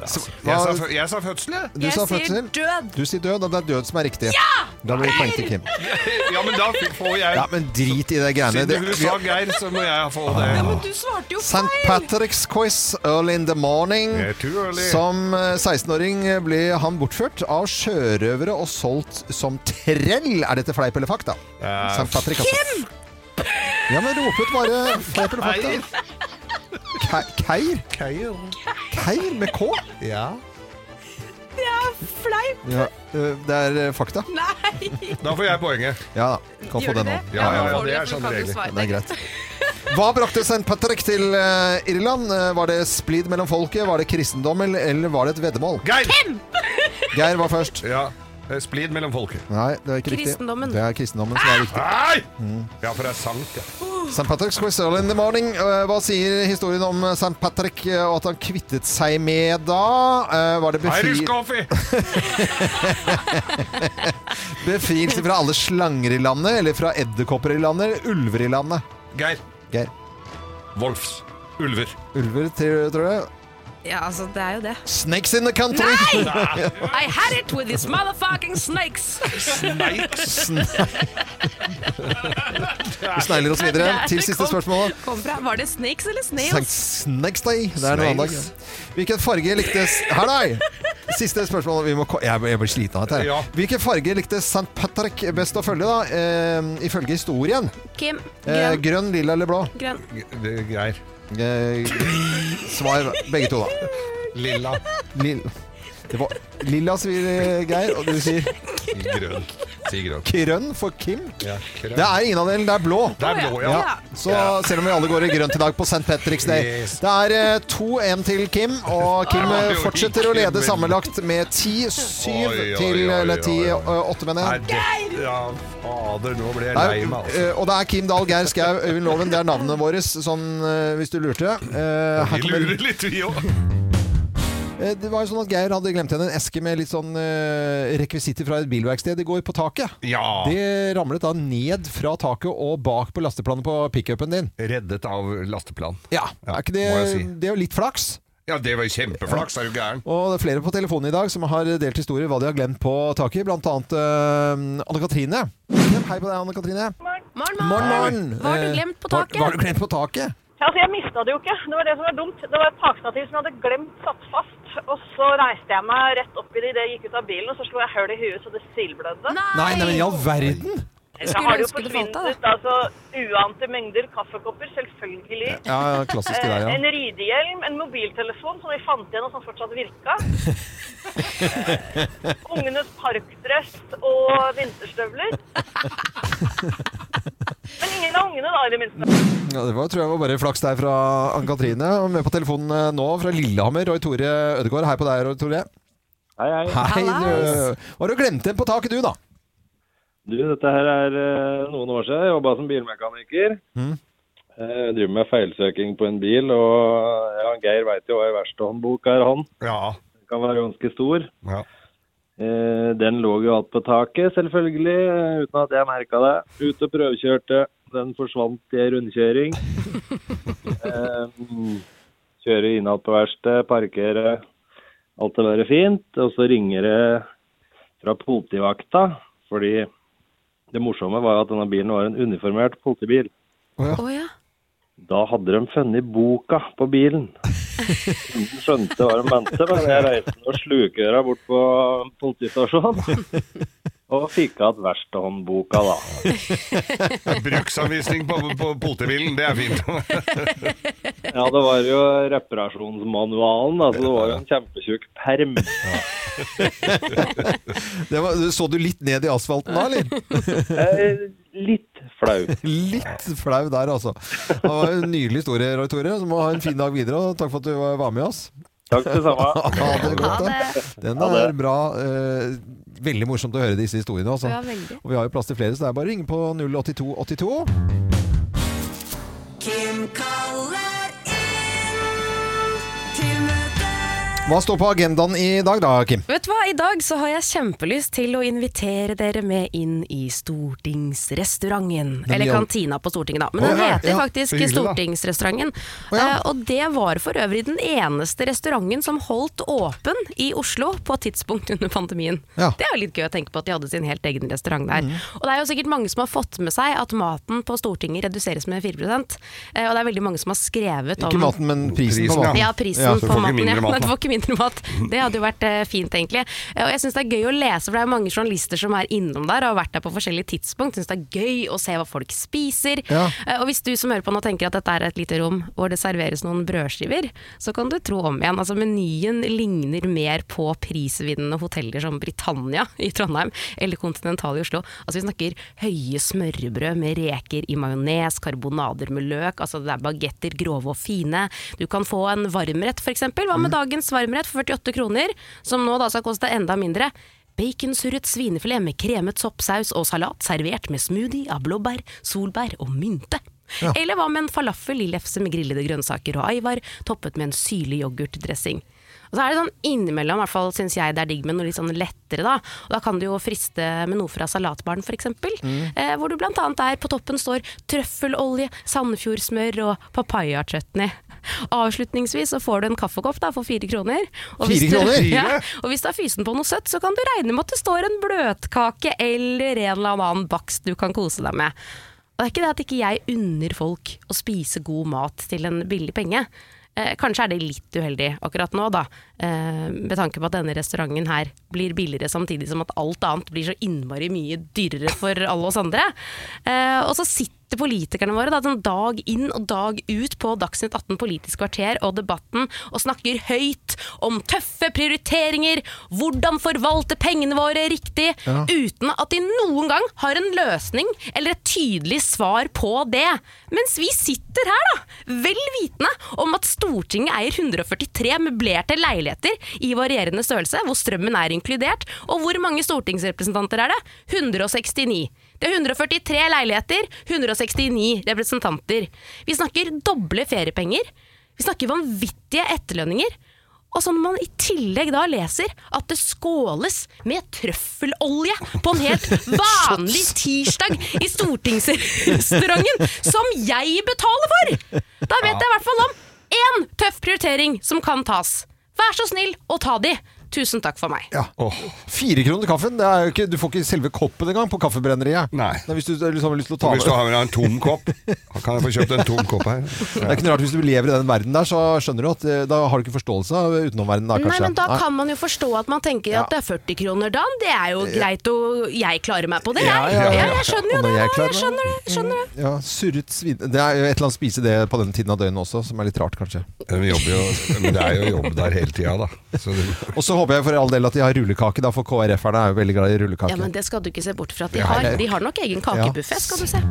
[SPEAKER 3] Jeg sa, fø- jeg sa fødsel,
[SPEAKER 1] [laughs]
[SPEAKER 3] jeg.
[SPEAKER 1] Du
[SPEAKER 2] Jeg
[SPEAKER 1] sa
[SPEAKER 2] sier
[SPEAKER 1] fødsel.
[SPEAKER 2] død.
[SPEAKER 1] Du sier død, og det er død som er riktig. Ja! Da blir det poeng til Kim.
[SPEAKER 3] Ja, men da får jeg
[SPEAKER 1] Ja, men drit i de greiene.
[SPEAKER 3] Siden du
[SPEAKER 1] Det- Ah.
[SPEAKER 3] sa Geir, så må jeg få det.
[SPEAKER 2] Du svarte jo
[SPEAKER 1] St. Patrick's quiz early in the morning.
[SPEAKER 3] Det er too early.
[SPEAKER 1] Som eh, 16-åring ble han bortført av sjørøvere og solgt som trell. Er dette fleip eller fakta? St. Patrick, altså. Kim! Ja, men rop ut
[SPEAKER 2] [laughs]
[SPEAKER 1] bare fleip eller fakta. Ke- Keir? Keir med K?
[SPEAKER 3] Ja.
[SPEAKER 2] Det er fleip!
[SPEAKER 1] Ja, eh, det er eh, fakta.
[SPEAKER 2] Nei!
[SPEAKER 3] Da får jeg poenget.
[SPEAKER 1] Ja da, kan få
[SPEAKER 2] Gjør du
[SPEAKER 1] det nå.
[SPEAKER 2] det?
[SPEAKER 3] Ja, ja, ja,
[SPEAKER 2] da får du
[SPEAKER 3] det er
[SPEAKER 2] for du
[SPEAKER 3] sånne
[SPEAKER 2] kan jo
[SPEAKER 3] regler.
[SPEAKER 2] svare.
[SPEAKER 1] Det er greit. Hva brakte St. Patrick til eh, Irland? Eh, Var det splid mellom folket, var det kristendom, eller- eller var det et veddemål?
[SPEAKER 3] Geir!
[SPEAKER 1] Geir var først.
[SPEAKER 3] Ja. Eh, Splid mellom folket.
[SPEAKER 1] Nei, det er ikke
[SPEAKER 2] Kristendommen.
[SPEAKER 1] riktig. Det er kristendommen som er riktig.
[SPEAKER 3] Nei! Mm. Ja, for det er sankt, ja.
[SPEAKER 1] St. Patrick's Quiz early in the morning. Eh, Hva sier historien om St. Patrick eh, og at han kvittet seg med da? Eh, Var det
[SPEAKER 3] Irish
[SPEAKER 1] befri
[SPEAKER 3] coffee!
[SPEAKER 1] befrielse fra alle slanger i landet, eller fra edderkopper i landet, eller ulver i landet?
[SPEAKER 3] Geir.
[SPEAKER 1] Geir.
[SPEAKER 3] Wolfs. Ulver.
[SPEAKER 1] Ulver, tror tror du?
[SPEAKER 2] Ja, altså, det er jo det.
[SPEAKER 1] Snakes in the country!
[SPEAKER 2] I had it with these motherfucking snakes!
[SPEAKER 3] Snakes.
[SPEAKER 1] Vi snegler oss videre til siste spørsmål.
[SPEAKER 2] Kom fra. Var det snakes eller snails?
[SPEAKER 1] Snakes Day. Det er en annen dag.
[SPEAKER 3] Snails.
[SPEAKER 1] Hvilken farge likte s- Her, nei! Siste spørsmål. Vi må, ko- jeg, jeg blir sliten av dette.
[SPEAKER 3] Ja.
[SPEAKER 1] her. Hvilken farge likte St. Patrick best å følge, da? Eh, ifølge historien.
[SPEAKER 2] Kim,
[SPEAKER 1] Eh,
[SPEAKER 2] grønn,
[SPEAKER 1] grønn, lilla eller blå?
[SPEAKER 2] grønn.
[SPEAKER 3] Ge- det- Geir.
[SPEAKER 1] Eh, svar begge to, da.
[SPEAKER 3] Lilla.
[SPEAKER 1] Lil, det var lilla, sier eh, Geir, og du sier
[SPEAKER 3] Grønn. Si grønn.
[SPEAKER 1] grønn for Kim.
[SPEAKER 3] Ja, grønn.
[SPEAKER 1] Det er ingen av delene, det er blå.
[SPEAKER 3] Det er blå, ja.
[SPEAKER 1] Ja. Så selv om vi alle går i grønt i dag på St. Patrick's Day.
[SPEAKER 3] Yes.
[SPEAKER 1] Det er eh, 2-1 til Kim, og Kim eh, fortsetter å lede sammenlagt med 10-7
[SPEAKER 3] Oi, oi,
[SPEAKER 1] til
[SPEAKER 3] oi,
[SPEAKER 1] eller
[SPEAKER 3] oi,
[SPEAKER 1] 10-8, mener
[SPEAKER 3] Er
[SPEAKER 1] jeg.
[SPEAKER 3] det- Ja, fader, nå ble jeg
[SPEAKER 1] Nei,
[SPEAKER 3] lei meg, altså.
[SPEAKER 1] eh, og det er Kim Dahl, Geir Skau, Øyvind Loven. Det er navnene våre, sånn eh, hvis du lurte. Eh, her
[SPEAKER 3] Vi
[SPEAKER 1] kommer,
[SPEAKER 3] lurer litt, vi òg.
[SPEAKER 1] eh, det var jo sånn at Geir hadde glemt igjen en eske med litt sånn eh, rekvisitter fra et bilverksted i går på taket.
[SPEAKER 3] Ja.
[SPEAKER 1] Det ramlet da ned fra taket og bak på lasteplanet på pickupen din.
[SPEAKER 3] Reddet av lasteplan.
[SPEAKER 1] Ja, er ikke det,
[SPEAKER 3] må jeg si.
[SPEAKER 1] det er jo litt flaks.
[SPEAKER 3] Ja, det var jo kjempeflaks, er du gæren?
[SPEAKER 1] Og det er flere på telefonen i dag som har delt historier hva de har glemt på taket, blant annet eh, Anne-Katrine. Hei på deg, Anne-Katrine.
[SPEAKER 2] Morgen,
[SPEAKER 1] Morgen, morgen.
[SPEAKER 2] Hva har du glemt på
[SPEAKER 1] Eh, hva-
[SPEAKER 2] taket?
[SPEAKER 1] Hva har du glemt på taket?
[SPEAKER 5] Altså, jeg mista det jo ikke. Det var det som var dumt. Det var et takstativ som jeg hadde glemt satt fast. Og så reiste jeg meg rett opp i det idet jeg gikk ut av bilen, og så slo jeg hull i huet så det silblødde.
[SPEAKER 1] Nei, nei, men i all verden!
[SPEAKER 5] Da har det jo
[SPEAKER 2] ønske det falt
[SPEAKER 5] forsvunnet
[SPEAKER 2] av,
[SPEAKER 5] ut altså, uante mengder kaffekopper, selvfølgelig.
[SPEAKER 1] Ja, klassisk det der,
[SPEAKER 5] Eh,
[SPEAKER 1] ja.
[SPEAKER 5] En ridehjelm, en mobiltelefon som vi fant igjen og som fortsatt virka. Eh, Ungenes parkdress og vinterstøvler. Men ingen av ungene, da, i det minste.
[SPEAKER 1] ja det var, tror jeg var bare flaks der fra Anne-Katrine. Og med på telefonen eh, nå fra Lillehammer, Roy Tore Ødegaard. Hei på deg, Roy Tore.
[SPEAKER 10] Hei, hei.
[SPEAKER 1] Hei,
[SPEAKER 2] Hallais.
[SPEAKER 1] du. Hva har du glemt igjen på taket, du, da?
[SPEAKER 10] Du, dette her er eh, noen år siden. Jeg jobba som bilmekaniker. Eh, Jeg driver med feilsøking på en bil, og ja, Geir veit jo hva ei verkstedhåndbok er, han.
[SPEAKER 3] Ja.
[SPEAKER 10] Den kan være ganske stor.
[SPEAKER 3] ja.
[SPEAKER 10] Eh, Den lå jo alt på taket, selvfølgelig, eh, uten at jeg merka det. Ute og prøvekjørte. Den forsvant i ei rundkjøring. Eh, Kjøre innad på verksted, parkere. Alt skal være fint. Og så ringer det fra politivakta, fordi det morsomme var jo at denne bilen var en uniformert politibil.
[SPEAKER 2] Å ja.
[SPEAKER 10] Da hadde de funnet boka på bilen. Ingen skjønte hva de mente, men jeg reiste med slukøra bort på politistasjonen. Og fikk igjen verkstedhåndboka, da.
[SPEAKER 3] Bruksanvisning på, på politibilen, det er fint.
[SPEAKER 10] Ja, det var jo reparasjonsmanualen, da, så det var jo en kjempetjukk perm.
[SPEAKER 1] Det var, så du litt ned i asfalten da, eller?
[SPEAKER 10] Eh, litt flau.
[SPEAKER 1] [laughs] Litt flau der, altså. Det var en nydelig historie, Roy Tore. Så må ha en fin dag videre, og takk for at du var med oss.
[SPEAKER 10] Takk det samme.
[SPEAKER 1] Ha det godt, da. Den
[SPEAKER 10] Ha
[SPEAKER 1] er
[SPEAKER 10] det.
[SPEAKER 1] bra. eh, Veldig morsomt å høre disse historiene, altså.
[SPEAKER 2] Ja, veldig.
[SPEAKER 1] Og vi har jo plass til flere, så det er bare å ringe på 08282.
[SPEAKER 11] Kim kaller inn til møte.
[SPEAKER 1] Hva står på agendaen i dag da, Kim?
[SPEAKER 2] Vet du hva, i dag så har jeg kjempelyst til å invitere dere med inn i Stortingsrestauranten.
[SPEAKER 1] i
[SPEAKER 2] Eller
[SPEAKER 1] all-
[SPEAKER 2] Kantina på Stortinget, da. Men
[SPEAKER 1] Å,
[SPEAKER 2] den
[SPEAKER 1] ja,
[SPEAKER 2] heter
[SPEAKER 1] ja,
[SPEAKER 2] faktisk
[SPEAKER 3] hyggelig, da.
[SPEAKER 2] Stortingsrestauranten.
[SPEAKER 1] ja.
[SPEAKER 2] Eh, Og det var for øvrig den eneste restauranten som holdt åpen i Oslo på et tidspunkt under pandemien.
[SPEAKER 1] Ja. Mm.
[SPEAKER 2] Det er jo litt gøy å tenke på at de hadde sin helt egen restaurant der. Og det er jo sikkert mange som har fått med seg at maten på Stortinget reduseres med 4 eh, og det er veldig mange som har skrevet om
[SPEAKER 1] Ikke maten, men prisen
[SPEAKER 3] Prisen,
[SPEAKER 1] på maten.
[SPEAKER 2] ja, prisen
[SPEAKER 1] Ja, så
[SPEAKER 2] på
[SPEAKER 3] får ikke
[SPEAKER 2] maten.
[SPEAKER 3] mindre
[SPEAKER 2] Ja. [laughs] Nei, du får ikke
[SPEAKER 3] mat, da.
[SPEAKER 2] mindre mat. Det hadde jo vært eh, fint, egentlig. Eh, og jeg syns det er gøy å lese, for det er jo mange journalister som er innom der og har vært der på forskjellige tidspunkt. Syns det er gøy å se hva folk spiser.
[SPEAKER 1] Ja.
[SPEAKER 2] Eh, og hvis du som hører på nå tenker at dette er et lite rom hvor det serveres noen brødskiver, så kan du tro om igjen. Altså menyen ligner mer på prisvinnende hoteller som Britannia i Trondheim eller Continental i Oslo. Altså vi snakker høye smørbrød med reker i majones, karbonader med løk, altså det er bagetter, grove og fine. Du kan få en varmrett f.eks. Hva med dagens varmrett for 48 kroner, som nå da skal koste enda mindre? Baconsurret svinefilet med kremet soppsaus og salat servert med smoothie av blåbær, solbær og mynte.
[SPEAKER 1] Ja.
[SPEAKER 2] Eller hva med en falafel i lefse med grillede grønnsaker og aivar, toppet med en syrlig yoghurtdressing. Og så er det sånn innimellom, i hvert fall syns jeg det er digg med noe litt sånn lettere, da. Og da kan du jo friste med noe fra salatbaren f.eks.
[SPEAKER 1] Mm.
[SPEAKER 2] Eh, hvor du blant annet der på toppen står trøffelolje, Sandefjordsmør og papaya-chutney. Avslutningsvis så får du en kaffekopp da, for fire kroner. Og
[SPEAKER 1] Fire
[SPEAKER 2] hvis
[SPEAKER 1] kroner?
[SPEAKER 2] Du, [laughs] ja, og hvis du er fysen på noe søtt, så kan du regne med at det står en bløtkake eller en eller annen bakst du kan kose deg med. Og det er ikke det at ikke jeg unner folk å spise god mat til en billig penge. Eh, kanskje er det litt uheldig akkurat nå, da. Eh, med tanke på at denne restauranten her blir billigere samtidig som at alt annet blir så innmari mye dyrere for alle oss andre. Eh, og så sitter politikerne våre da, sånn dag inn og dag ut på Dagsnytt 18 Politisk kvarter og Debatten og snakker høyt om tøffe prioriteringer, hvordan forvalte pengene våre riktig, uten at de noen gang har en løsning eller et tydelig svar på det. Mens vi sitter her, da, vel vitende om at Stortinget eier 143 møblerte leiligheter i varierende størrelse, hvor strømmen er inkludert. Og hvor mange stortingsrepresentanter er det? 169. Det er 143 leiligheter, 169 representanter. Vi snakker doble feriepenger. Vi snakker vanvittige etterlønninger. Og så når man i tillegg da leser at det skåles med trøffelolje på en helt vanlig tirsdag i stortingsrestauranten, som jeg betaler for! Da vet jeg i hvert fall om én tøff prioritering som kan tas. Vær så snill å ta de. Tusen takk for meg.
[SPEAKER 1] Ja. Fire kroner til kaffen? Det er jo ikke, du får ikke selve koppen engang på kaffebrenneriet.
[SPEAKER 3] Nei.
[SPEAKER 1] Hvis du liksom har lyst til å ta
[SPEAKER 3] Og Hvis
[SPEAKER 1] med
[SPEAKER 3] du har med deg en tom kopp, kan jeg få kjøpt en tom kopp her?
[SPEAKER 1] Det er ikke noe rart Hvis du lever i den verden der, så skjønner du at eh, da har du ikke forståelse av utenomverdenen. Da,
[SPEAKER 2] Nei,
[SPEAKER 1] kanskje.
[SPEAKER 2] men Da
[SPEAKER 1] Nei.
[SPEAKER 2] kan man jo forstå at man tenker at det er 40 kroner dagen. Det er jo greit, og jeg klarer meg på det, jeg.
[SPEAKER 1] Ja, ja, ja.
[SPEAKER 2] jeg skjønner jo
[SPEAKER 1] Og når
[SPEAKER 2] det.
[SPEAKER 1] jeg
[SPEAKER 2] Jeg,
[SPEAKER 1] klarer meg.
[SPEAKER 2] skjønner det. Skjønner det.
[SPEAKER 1] Ja, surret svin... Det er jo et eller annet spise det på den tiden av døgnet også, som er litt rart, kanskje.
[SPEAKER 3] Vi jobber jo, men det er jo jobb der hele tida, da. Så det,
[SPEAKER 1] Og så håper jeg for all del at de har rullekake, da, for KrF-erne er jo veldig glad i rullekake.
[SPEAKER 2] Ja, men Det skal du ikke se bort fra at de
[SPEAKER 1] Nei,
[SPEAKER 2] har.
[SPEAKER 1] det er-
[SPEAKER 2] De har nok egen kakebuffé,
[SPEAKER 1] Ja.
[SPEAKER 2] skal du se.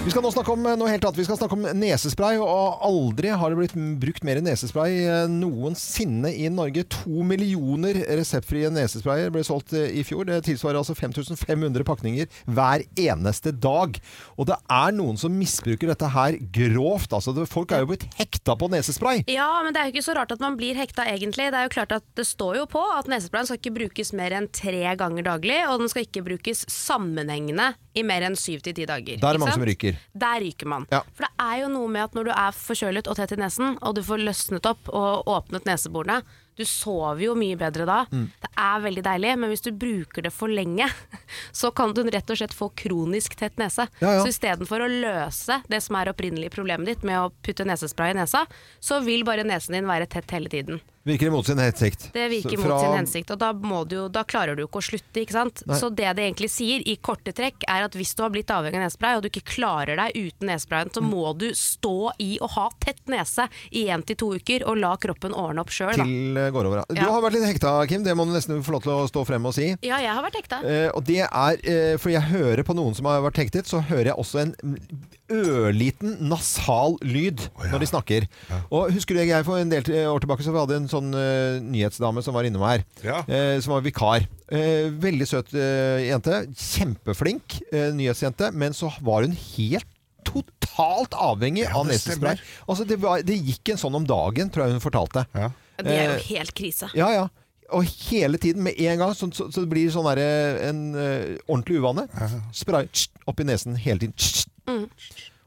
[SPEAKER 1] Vi skal nå snakke om eh, noe helt annet. Vi skal snakke om nesespray, og aldri har det blitt m- brukt mer nesespray eh, noensinne i Norge. To millioner reseptfrie nesesprayer ble solgt eh, i fjor. Det tilsvarer altså 5500 pakninger hver eneste dag. Og det er noen som misbruker dette her grovt. Altså, det, folk er jo blitt hekta på nesespray.
[SPEAKER 2] Ja, men det er jo ikke så rart at man blir hekta, egentlig. Det er jo klart at det står jo på at nesesprayen skal ikke brukes mer enn tre ganger daglig, og den skal ikke brukes sammenhengende i mer enn syv til ti dager.
[SPEAKER 1] Der er
[SPEAKER 2] ikke
[SPEAKER 1] mange
[SPEAKER 2] sant?
[SPEAKER 1] som ryker.
[SPEAKER 2] Der ryker man.
[SPEAKER 1] Ja.
[SPEAKER 2] For det er jo noe med at når du er forkjølet og tett i nesen, og du får løsnet opp og åpnet neseborene, du sover jo mye bedre da.
[SPEAKER 1] Mm.
[SPEAKER 2] Det er veldig deilig, men hvis du bruker det for lenge, [laughs] så kan du rett og slett få kronisk tett nese.
[SPEAKER 1] Ja, ja.
[SPEAKER 2] Så istedenfor å løse det som er opprinnelig problemet ditt med å putte nesespray i nesa, så vil bare nesen din være tett hele tiden.
[SPEAKER 1] Virker det mot sin hensikt?
[SPEAKER 2] Det
[SPEAKER 1] Så
[SPEAKER 2] virker mot
[SPEAKER 1] fra-
[SPEAKER 2] sin hensikt, og da, må du, jo- da klarer du jo ikke å slutte. ikke sant?
[SPEAKER 1] Nei.
[SPEAKER 2] Så det det egentlig sier, i korte trekk, er at hvis du har blitt avhengig av nesespray, og du ikke klarer deg uten nesesprayen,
[SPEAKER 1] Mm.
[SPEAKER 2] så må du stå i og ha tett nese i én til to uker, og la kroppen ordne opp sjøl, da.
[SPEAKER 1] Til eh, går over. ja. Du
[SPEAKER 2] Ja.
[SPEAKER 1] har vært litt hekta, Kim. Det må du nesten få lov til å stå frem og si.
[SPEAKER 2] Ja, jeg har vært hekta.
[SPEAKER 1] Eh, og det er, eh, for jeg hører på noen som har vært hektet, så hører jeg også en ørliten nasal lyd når de snakker. Og husker du jeg for en del eh, år tilbake så hadde jeg en sånn eh, nyhetsdame som var innom her,
[SPEAKER 3] Ja.
[SPEAKER 1] eh, som var vikar. Eh, veldig søt eh, jente, kjempeflink eh, nyhetsjente, men så var hun helt totalt avhengig
[SPEAKER 3] Ja,
[SPEAKER 1] av
[SPEAKER 3] det stemmer.
[SPEAKER 1] nesespray. Altså, det, var, det gikk en sånn om dagen, tror jeg hun fortalte.
[SPEAKER 3] ja.
[SPEAKER 2] Det er jo helt krise.
[SPEAKER 1] Ja, ja. Og hele tiden, med en gang, så, så, så det blir sånn der, eh, en eh, ordentlig uvane. Spray tss, opp i nesen hele tiden. Tss,
[SPEAKER 2] Mm.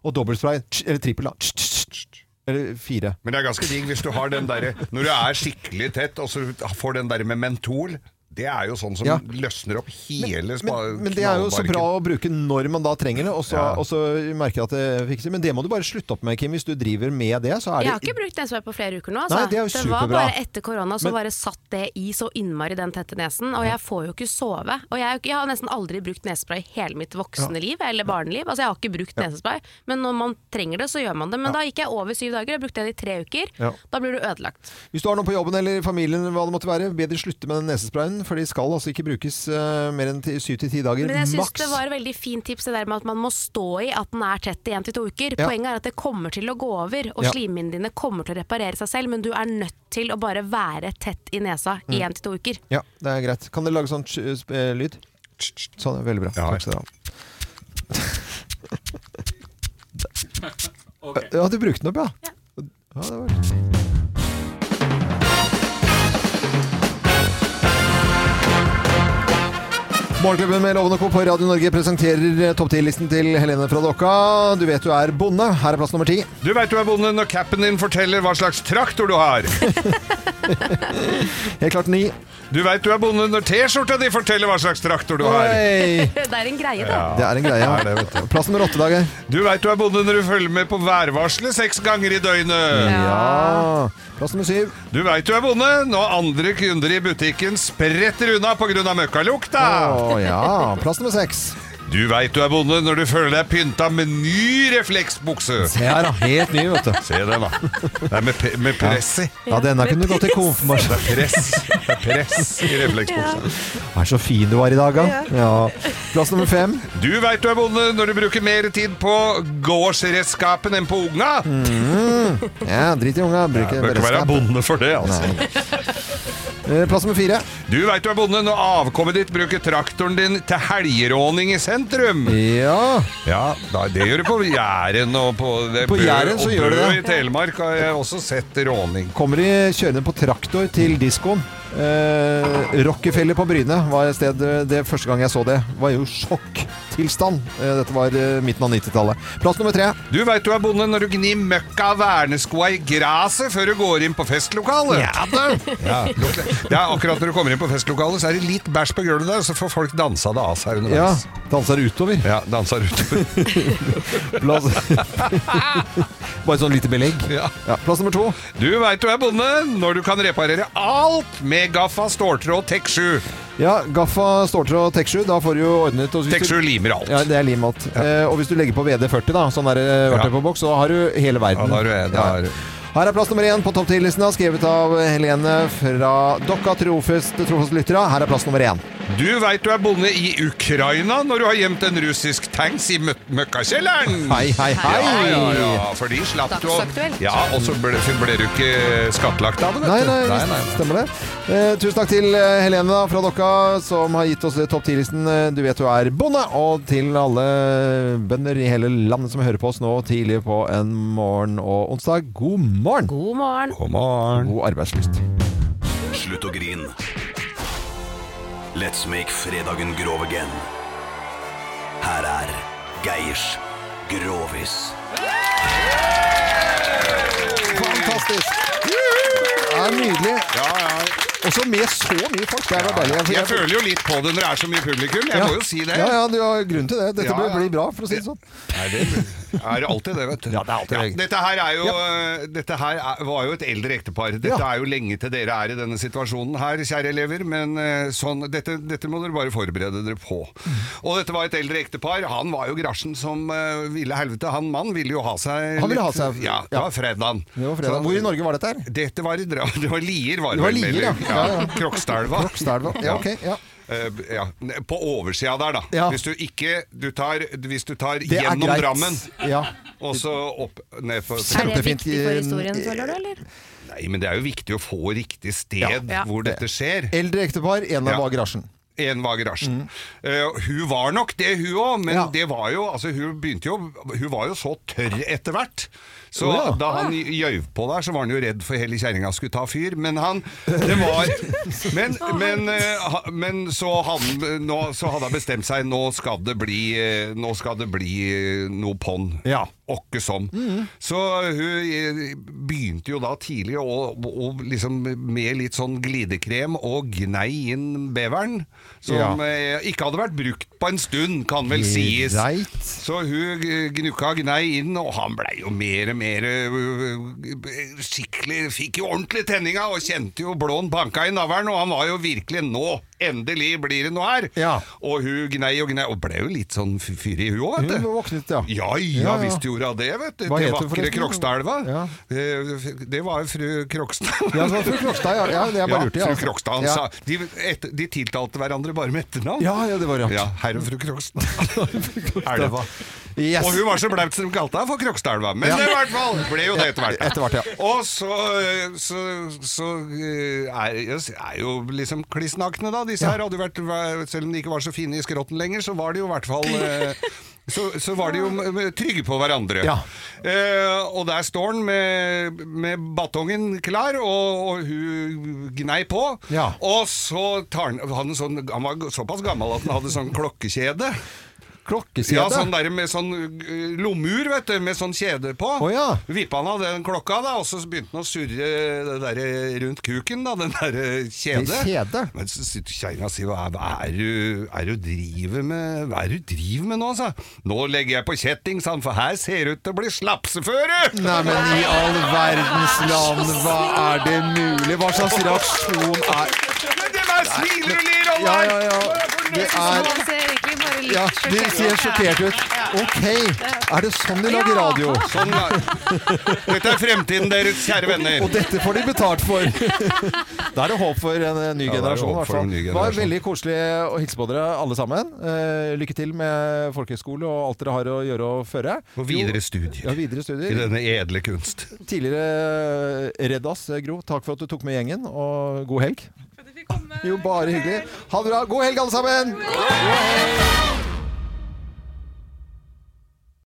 [SPEAKER 1] Og dobbeltspray, tss, eller trippel, da. Tss, tss, tss, eller fire.
[SPEAKER 3] Men det er ganske digg hvis du har den derre Når du er skikkelig tett, og så får den derre med mentol. Det er jo sånn som
[SPEAKER 1] Ja.
[SPEAKER 3] løsner opp hele spa-
[SPEAKER 1] Men, men det er jo så
[SPEAKER 3] knallbarken.
[SPEAKER 1] bra å bruke når man da trenger det, og så,
[SPEAKER 3] Ja.
[SPEAKER 1] og så merker jeg at det fikser. Men det må du bare slutte opp med, Kim. Hvis du driver med det, så er
[SPEAKER 2] Jeg
[SPEAKER 1] det
[SPEAKER 2] har ikke brukt nesespray på flere uker nå. Altså.
[SPEAKER 1] Nei, det er jo
[SPEAKER 2] var
[SPEAKER 1] superbra.
[SPEAKER 2] bare etter korona, så
[SPEAKER 1] Men-
[SPEAKER 2] bare satt det i så innmari den tette nesen. Og jeg får jo ikke sove. Og jeg, er jo ikke- jeg har nesten aldri brukt nesespray i hele mitt voksne liv, eller barneliv. Altså jeg har ikke brukt nesespray, men når man trenger det, så gjør man det. Men da gikk jeg over syv dager, jeg brukte det i tre uker.
[SPEAKER 1] Ja.
[SPEAKER 2] Da blir du ødelagt.
[SPEAKER 1] Hvis du har noe på jobben eller i familien, hva det måtte være, be de slutte med den nesesprayen. igjen, for de skal altså ikke brukes eh, mer enn til syv til ti dager
[SPEAKER 2] Men jeg syns
[SPEAKER 1] maks.
[SPEAKER 2] det var et veldig fint tips det der med at man må stå i at den er tett i én til to uker.
[SPEAKER 1] Ja.
[SPEAKER 2] Poenget er at det kommer til å gå over, og
[SPEAKER 1] Ja.
[SPEAKER 2] slimhinnene dine kommer til å reparere seg selv, men du er nødt til å bare være tett i nesa
[SPEAKER 1] Mm.
[SPEAKER 2] i én til to uker. [laughs]
[SPEAKER 1] Ja, det er greit. Kan dere lage sånn tsk, eh, sp- eh, lyd? Sånn, ja, veldig bra.
[SPEAKER 3] Ja.
[SPEAKER 1] Takk skal dere ha. Ja, du brukte den opp, ja? Ja, det var Morgenklubben med Loven og Co. på Radio Norge presenterer eh, topp 10-listen til Helene fra Dokka. Du vet du er bonde. Her er plass nummer ti.
[SPEAKER 3] Du veit du er bonde når capen din forteller hva slags traktor du har.
[SPEAKER 1] Helt klart ni.
[SPEAKER 3] Du veit du er bonde når T-skjorta di forteller hva slags traktor du har.
[SPEAKER 1] Oi!
[SPEAKER 2] Det er en greie, det.
[SPEAKER 1] Det er en greie.
[SPEAKER 3] Ja, det vet
[SPEAKER 1] Plass nummer åtte, Dager.
[SPEAKER 3] Du veit du er bonde når du følger med på værvarselet seks ganger i døgnet.
[SPEAKER 1] Ja. Plass nummer syv.
[SPEAKER 3] Du veit du er bonde når andre kunder i butikken spretter unna pga. møkkalukta.
[SPEAKER 1] Å ja. Plass nummer seks.
[SPEAKER 3] Du veit du er bonde når du føler deg pynta med ny refleksbukse.
[SPEAKER 1] Se her, da. Helt ny, vet du.
[SPEAKER 3] Se den, da. Det er med, pe- med press i.
[SPEAKER 1] Ja, denne kunne du gått i konfirmasjon.
[SPEAKER 3] Det er press, det er press i refleksbuksa.
[SPEAKER 1] Er så fin du var i dag, da. Ja. Plass nummer fem.
[SPEAKER 3] Du veit du er bonde når du bruker mer tid på gårdsredskapen enn på unga.
[SPEAKER 1] Mm. Ja, drit i unga. Bruk
[SPEAKER 3] Du bør ikke være
[SPEAKER 1] beredskap.
[SPEAKER 3] bonde for det, altså.
[SPEAKER 1] Eh, Plass nummer fire.
[SPEAKER 3] Du veit du er bonde når avkommet ditt bruker traktoren din til helgeråning i sentrum.
[SPEAKER 1] Ja.
[SPEAKER 3] Ja, da, det gjør du på Jæren og på det
[SPEAKER 1] På
[SPEAKER 3] Bø-
[SPEAKER 1] Jæren så
[SPEAKER 3] og
[SPEAKER 1] gjør du
[SPEAKER 3] Bø
[SPEAKER 1] det.
[SPEAKER 3] I Telemark har jeg også sett råning.
[SPEAKER 1] Kommer de kjørende på traktor til diskoen. Eh, Rockefeller på Bryne var et sted eh, det første gang jeg så det. Var jo sjokktilstand. Eh, dette var eh, midten av 90-tallet. Plass nummer tre.
[SPEAKER 3] Du veit du er bonde når du gnir møkka av verneskoa i gresset før du går inn på festlokalet. Ja da! Det er akkurat når du kommer inn på festlokalet, så er det litt bæsj på gulvet der, så får folk dansa det av seg
[SPEAKER 1] Ja.
[SPEAKER 3] underveis.
[SPEAKER 1] Danser utover.
[SPEAKER 3] Ja, dansa utover.
[SPEAKER 1] Plass [laughs] Bare sånn lite belegg.
[SPEAKER 3] Ja.
[SPEAKER 1] [laughs] Ja, plass nummer to.
[SPEAKER 3] Du veit du er bonde når du kan reparere alt med gaffa, ståltråd, Tek 7.
[SPEAKER 1] Ja, Gaffa, ståltråd og Tek7. Da får du jo ordnet og hvis
[SPEAKER 3] Tek
[SPEAKER 1] du-
[SPEAKER 3] 7 limer alt.
[SPEAKER 1] Ja, det er limmat. Eh, og hvis du legger på VD40, da, sånn der eh, verktøy på boks, så har du hele verden.
[SPEAKER 3] Ja, da har du det, da har du-
[SPEAKER 1] Her er plass nummer én på topp 10-listen, skrevet av Helene fra Dokka Trofest Trofast-lyttere. Her er plass nummer én.
[SPEAKER 3] Du veit du er bonde i Ukraina når du har gjemt en russisk tanks i mø- møkkakjelleren.
[SPEAKER 1] Hei, hei, hei!
[SPEAKER 3] Ja, ja, ja, for de slapp du å-
[SPEAKER 2] Dagsaktuelt.
[SPEAKER 3] Ja, og så ble, ble du ikke skattlagt av det,
[SPEAKER 1] Nei,
[SPEAKER 3] vet du.
[SPEAKER 1] nei,
[SPEAKER 3] nei, nei, nei.
[SPEAKER 1] stemmer det. Eh, tusen takk til eh, Helene da, fra Dokka, som har gitt oss eh, topp 10-listen. Eh, Du vet du er bonde! Og til alle bønder i hele landet som hører på oss nå tidlig på en morgen og onsdag, god morgen!
[SPEAKER 2] God morgen.
[SPEAKER 3] God morgen.
[SPEAKER 1] God arbeidslyst.
[SPEAKER 12] Slutt å grin. Let's make fredagen grov again. Her er Geirs Grovis.
[SPEAKER 1] Fantastisk! Det er nydelig. Også med så mye folk. Det er bare deilig.
[SPEAKER 3] Jeg føler jo litt på det når det er så mye publikum. Jeg
[SPEAKER 1] Ja.
[SPEAKER 3] må jo si det.
[SPEAKER 1] Ja, ja, du har grunn til det. Dette
[SPEAKER 3] Ja,
[SPEAKER 1] blir,
[SPEAKER 3] ja.
[SPEAKER 1] blir bra, for å si det sånn.
[SPEAKER 3] Nei, det er det alltid det, vet du.
[SPEAKER 1] Ja, det er alltid det.
[SPEAKER 3] dette her, er jo, eh, dette her er, var jo et eldre ektepar. Dette
[SPEAKER 1] Ja.
[SPEAKER 3] er jo lenge til dere er i denne situasjonen her, kjære elever. Men eh, sånn, dette, dette må dere bare forberede dere på. Og dette var et eldre ektepar. Han var jo grasjen som eh, ville helvete. Han mannen ville jo ha seg
[SPEAKER 1] Han ville
[SPEAKER 3] litt-
[SPEAKER 1] ha seg-
[SPEAKER 3] Ja, det
[SPEAKER 1] ja.
[SPEAKER 3] var fredagen.
[SPEAKER 1] Det var fredag.
[SPEAKER 3] Så-
[SPEAKER 1] Hvor i Norge var dette her?
[SPEAKER 3] Dette var i Dra... [laughs] Det var Lier, var
[SPEAKER 1] Det var
[SPEAKER 3] vel,
[SPEAKER 1] Lier,
[SPEAKER 3] eller-
[SPEAKER 1] ja. Ja, ja.
[SPEAKER 3] [laughs] Krokstadelva.
[SPEAKER 1] Krokstadelva. Ja, ok, ja.
[SPEAKER 3] Eh, ja. På oversida der, da.
[SPEAKER 1] Ja.
[SPEAKER 3] Hvis du ikke du tar, Hvis du tar
[SPEAKER 1] Det er
[SPEAKER 3] gjennom
[SPEAKER 1] greit.
[SPEAKER 3] Drammen
[SPEAKER 1] Ja.
[SPEAKER 3] og så opp ned på
[SPEAKER 2] Er det
[SPEAKER 1] Kjempefint.
[SPEAKER 2] viktig for historien, føler du, eller?
[SPEAKER 3] Nei, men det er jo viktig å få riktig sted
[SPEAKER 2] Ja.
[SPEAKER 3] hvor dette skjer.
[SPEAKER 1] Eldre ektepar, en av
[SPEAKER 3] Ja.
[SPEAKER 1] var garasjen.
[SPEAKER 3] En var garasjen. Eh, hun var nok det, hun òg, men
[SPEAKER 1] Mm. Ja.
[SPEAKER 3] det var jo altså, Hun begynte jo Hun var jo så tørr etter hvert. Så
[SPEAKER 1] Å ja.
[SPEAKER 3] da han gjøyv på der, så var han jo redd for hele kjerringa skulle ta fyr. Men han Det var Men, men, eh, ha- men så, han, nå, så hadde han bestemt seg. Nå skal det bli eh, Nå skal det bli eh, noe på'n.
[SPEAKER 1] Ja.
[SPEAKER 3] Åkke som. Så hun eh, begynte jo da tidlig å, å liksom med litt sånn glidekrem og gnei inn beveren, som
[SPEAKER 1] Ja.
[SPEAKER 3] eh, ikke hadde vært brukt på en stund, kan vel sies.
[SPEAKER 1] Greit.
[SPEAKER 3] Så hun eh, gnukka og gnei inn, og han blei jo mer og mer eh, skikkelig Fikk jo ordentlig tenninga og kjente jo blåen banka i navlen, og han var jo virkelig Nå Endelig blir det noe her! Og hun gnei og gnei, og ble jo litt sånn f- fyrig, hun òg, vet du.
[SPEAKER 1] Hun våknet, ja.
[SPEAKER 3] Ja, ja,
[SPEAKER 1] Ja, ja.
[SPEAKER 3] visst gjorde hun det, vet du.
[SPEAKER 1] Hva
[SPEAKER 3] Til
[SPEAKER 1] het hun
[SPEAKER 3] vakre
[SPEAKER 1] forresten?
[SPEAKER 3] Krokstadelva. Eh, Det var jo fru Krokstad.
[SPEAKER 1] Ja, det var fru
[SPEAKER 3] [laughs]
[SPEAKER 1] Krokstad, ja. Ja, det er bare lurt, ja,
[SPEAKER 3] fru
[SPEAKER 1] altså.
[SPEAKER 3] Krokstad, han
[SPEAKER 1] Ja.
[SPEAKER 3] sa, de, et, de tiltalte hverandre bare med etternavn.
[SPEAKER 1] Ja, ja, det var rart.
[SPEAKER 3] Ja, herr og
[SPEAKER 1] [laughs]
[SPEAKER 3] fru Krokstad. Elva.
[SPEAKER 1] Yes.
[SPEAKER 3] Og hun var så blaut som de kalte henne for Krokstadelva. Men
[SPEAKER 1] Ja.
[SPEAKER 3] det i hvert fall ble jo det etter hvert.
[SPEAKER 1] Etter hvert, ja.
[SPEAKER 3] Og så, eh, så, så eh, er, er jo liksom klissnakne, da. Disse her hadde jo vært, væ- selv om de ikke var så fine i skrotten lenger, så var de jo i hvert fall eh, så, så var de jo m- m- trygge på hverandre.
[SPEAKER 1] Ja.
[SPEAKER 3] Eh, og der står han med, med batongen klar, og, og hun gnei på.
[SPEAKER 1] Ja.
[SPEAKER 3] Og så tar han, han, en sånn, han var såpass gammel at han hadde sånn klokkekjede.
[SPEAKER 1] Klokkekjede?
[SPEAKER 3] Ja, sånn der med sånn uh, lommeur, vet du, med sånn kjede på.
[SPEAKER 1] Å, ja.
[SPEAKER 3] Vippa han av den klokka, da, og så begynte han å surre det der eh, rundt kuken, da, den der uh, kjede.
[SPEAKER 1] Det er kjede.
[SPEAKER 3] Men så sitter kjerringa og sier hva er, hva er du, er du driver med Hva er du driver med nå, sa jeg. Nå legger jeg på kjetting, sa han, for her ser det ut til å bli slapseføre!
[SPEAKER 1] Nei, men i all verdens land, hva er det mulig? Hva slags reaksjon er
[SPEAKER 3] Men det bare smiler og ler, alle!
[SPEAKER 1] Ja, ja, ja. Det er
[SPEAKER 2] Han ser egentlig bare litt
[SPEAKER 1] Ja, de
[SPEAKER 2] sjokkert
[SPEAKER 1] ser
[SPEAKER 2] ut.
[SPEAKER 1] sjokkert ut. Ok, er det sånn de lager
[SPEAKER 2] Ja.
[SPEAKER 1] radio?
[SPEAKER 3] Sånn, ja. Dette er fremtiden deres, kjære venner.
[SPEAKER 1] Og dette får de betalt for! [laughs] Da er det håp for en eh, ny
[SPEAKER 3] Ja, det er
[SPEAKER 1] generasjon.
[SPEAKER 3] håp
[SPEAKER 1] i hvert
[SPEAKER 3] for en
[SPEAKER 1] fall.
[SPEAKER 3] ny
[SPEAKER 1] Det var
[SPEAKER 3] generasjon.
[SPEAKER 1] veldig koselig å hilse på dere alle sammen. Eh, lykke til med folkehøyskole og alt dere har å gjøre og føre.
[SPEAKER 3] Og videre
[SPEAKER 1] Jo,
[SPEAKER 3] studier
[SPEAKER 1] Ja, videre
[SPEAKER 3] i
[SPEAKER 1] studier.
[SPEAKER 3] denne edle kunst.
[SPEAKER 1] Tidligere Reddas, Gro, takk for at du tok med gjengen, og god helg. Jo, bare hyggelig. Ha det bra. God helg, alle sammen! God helg!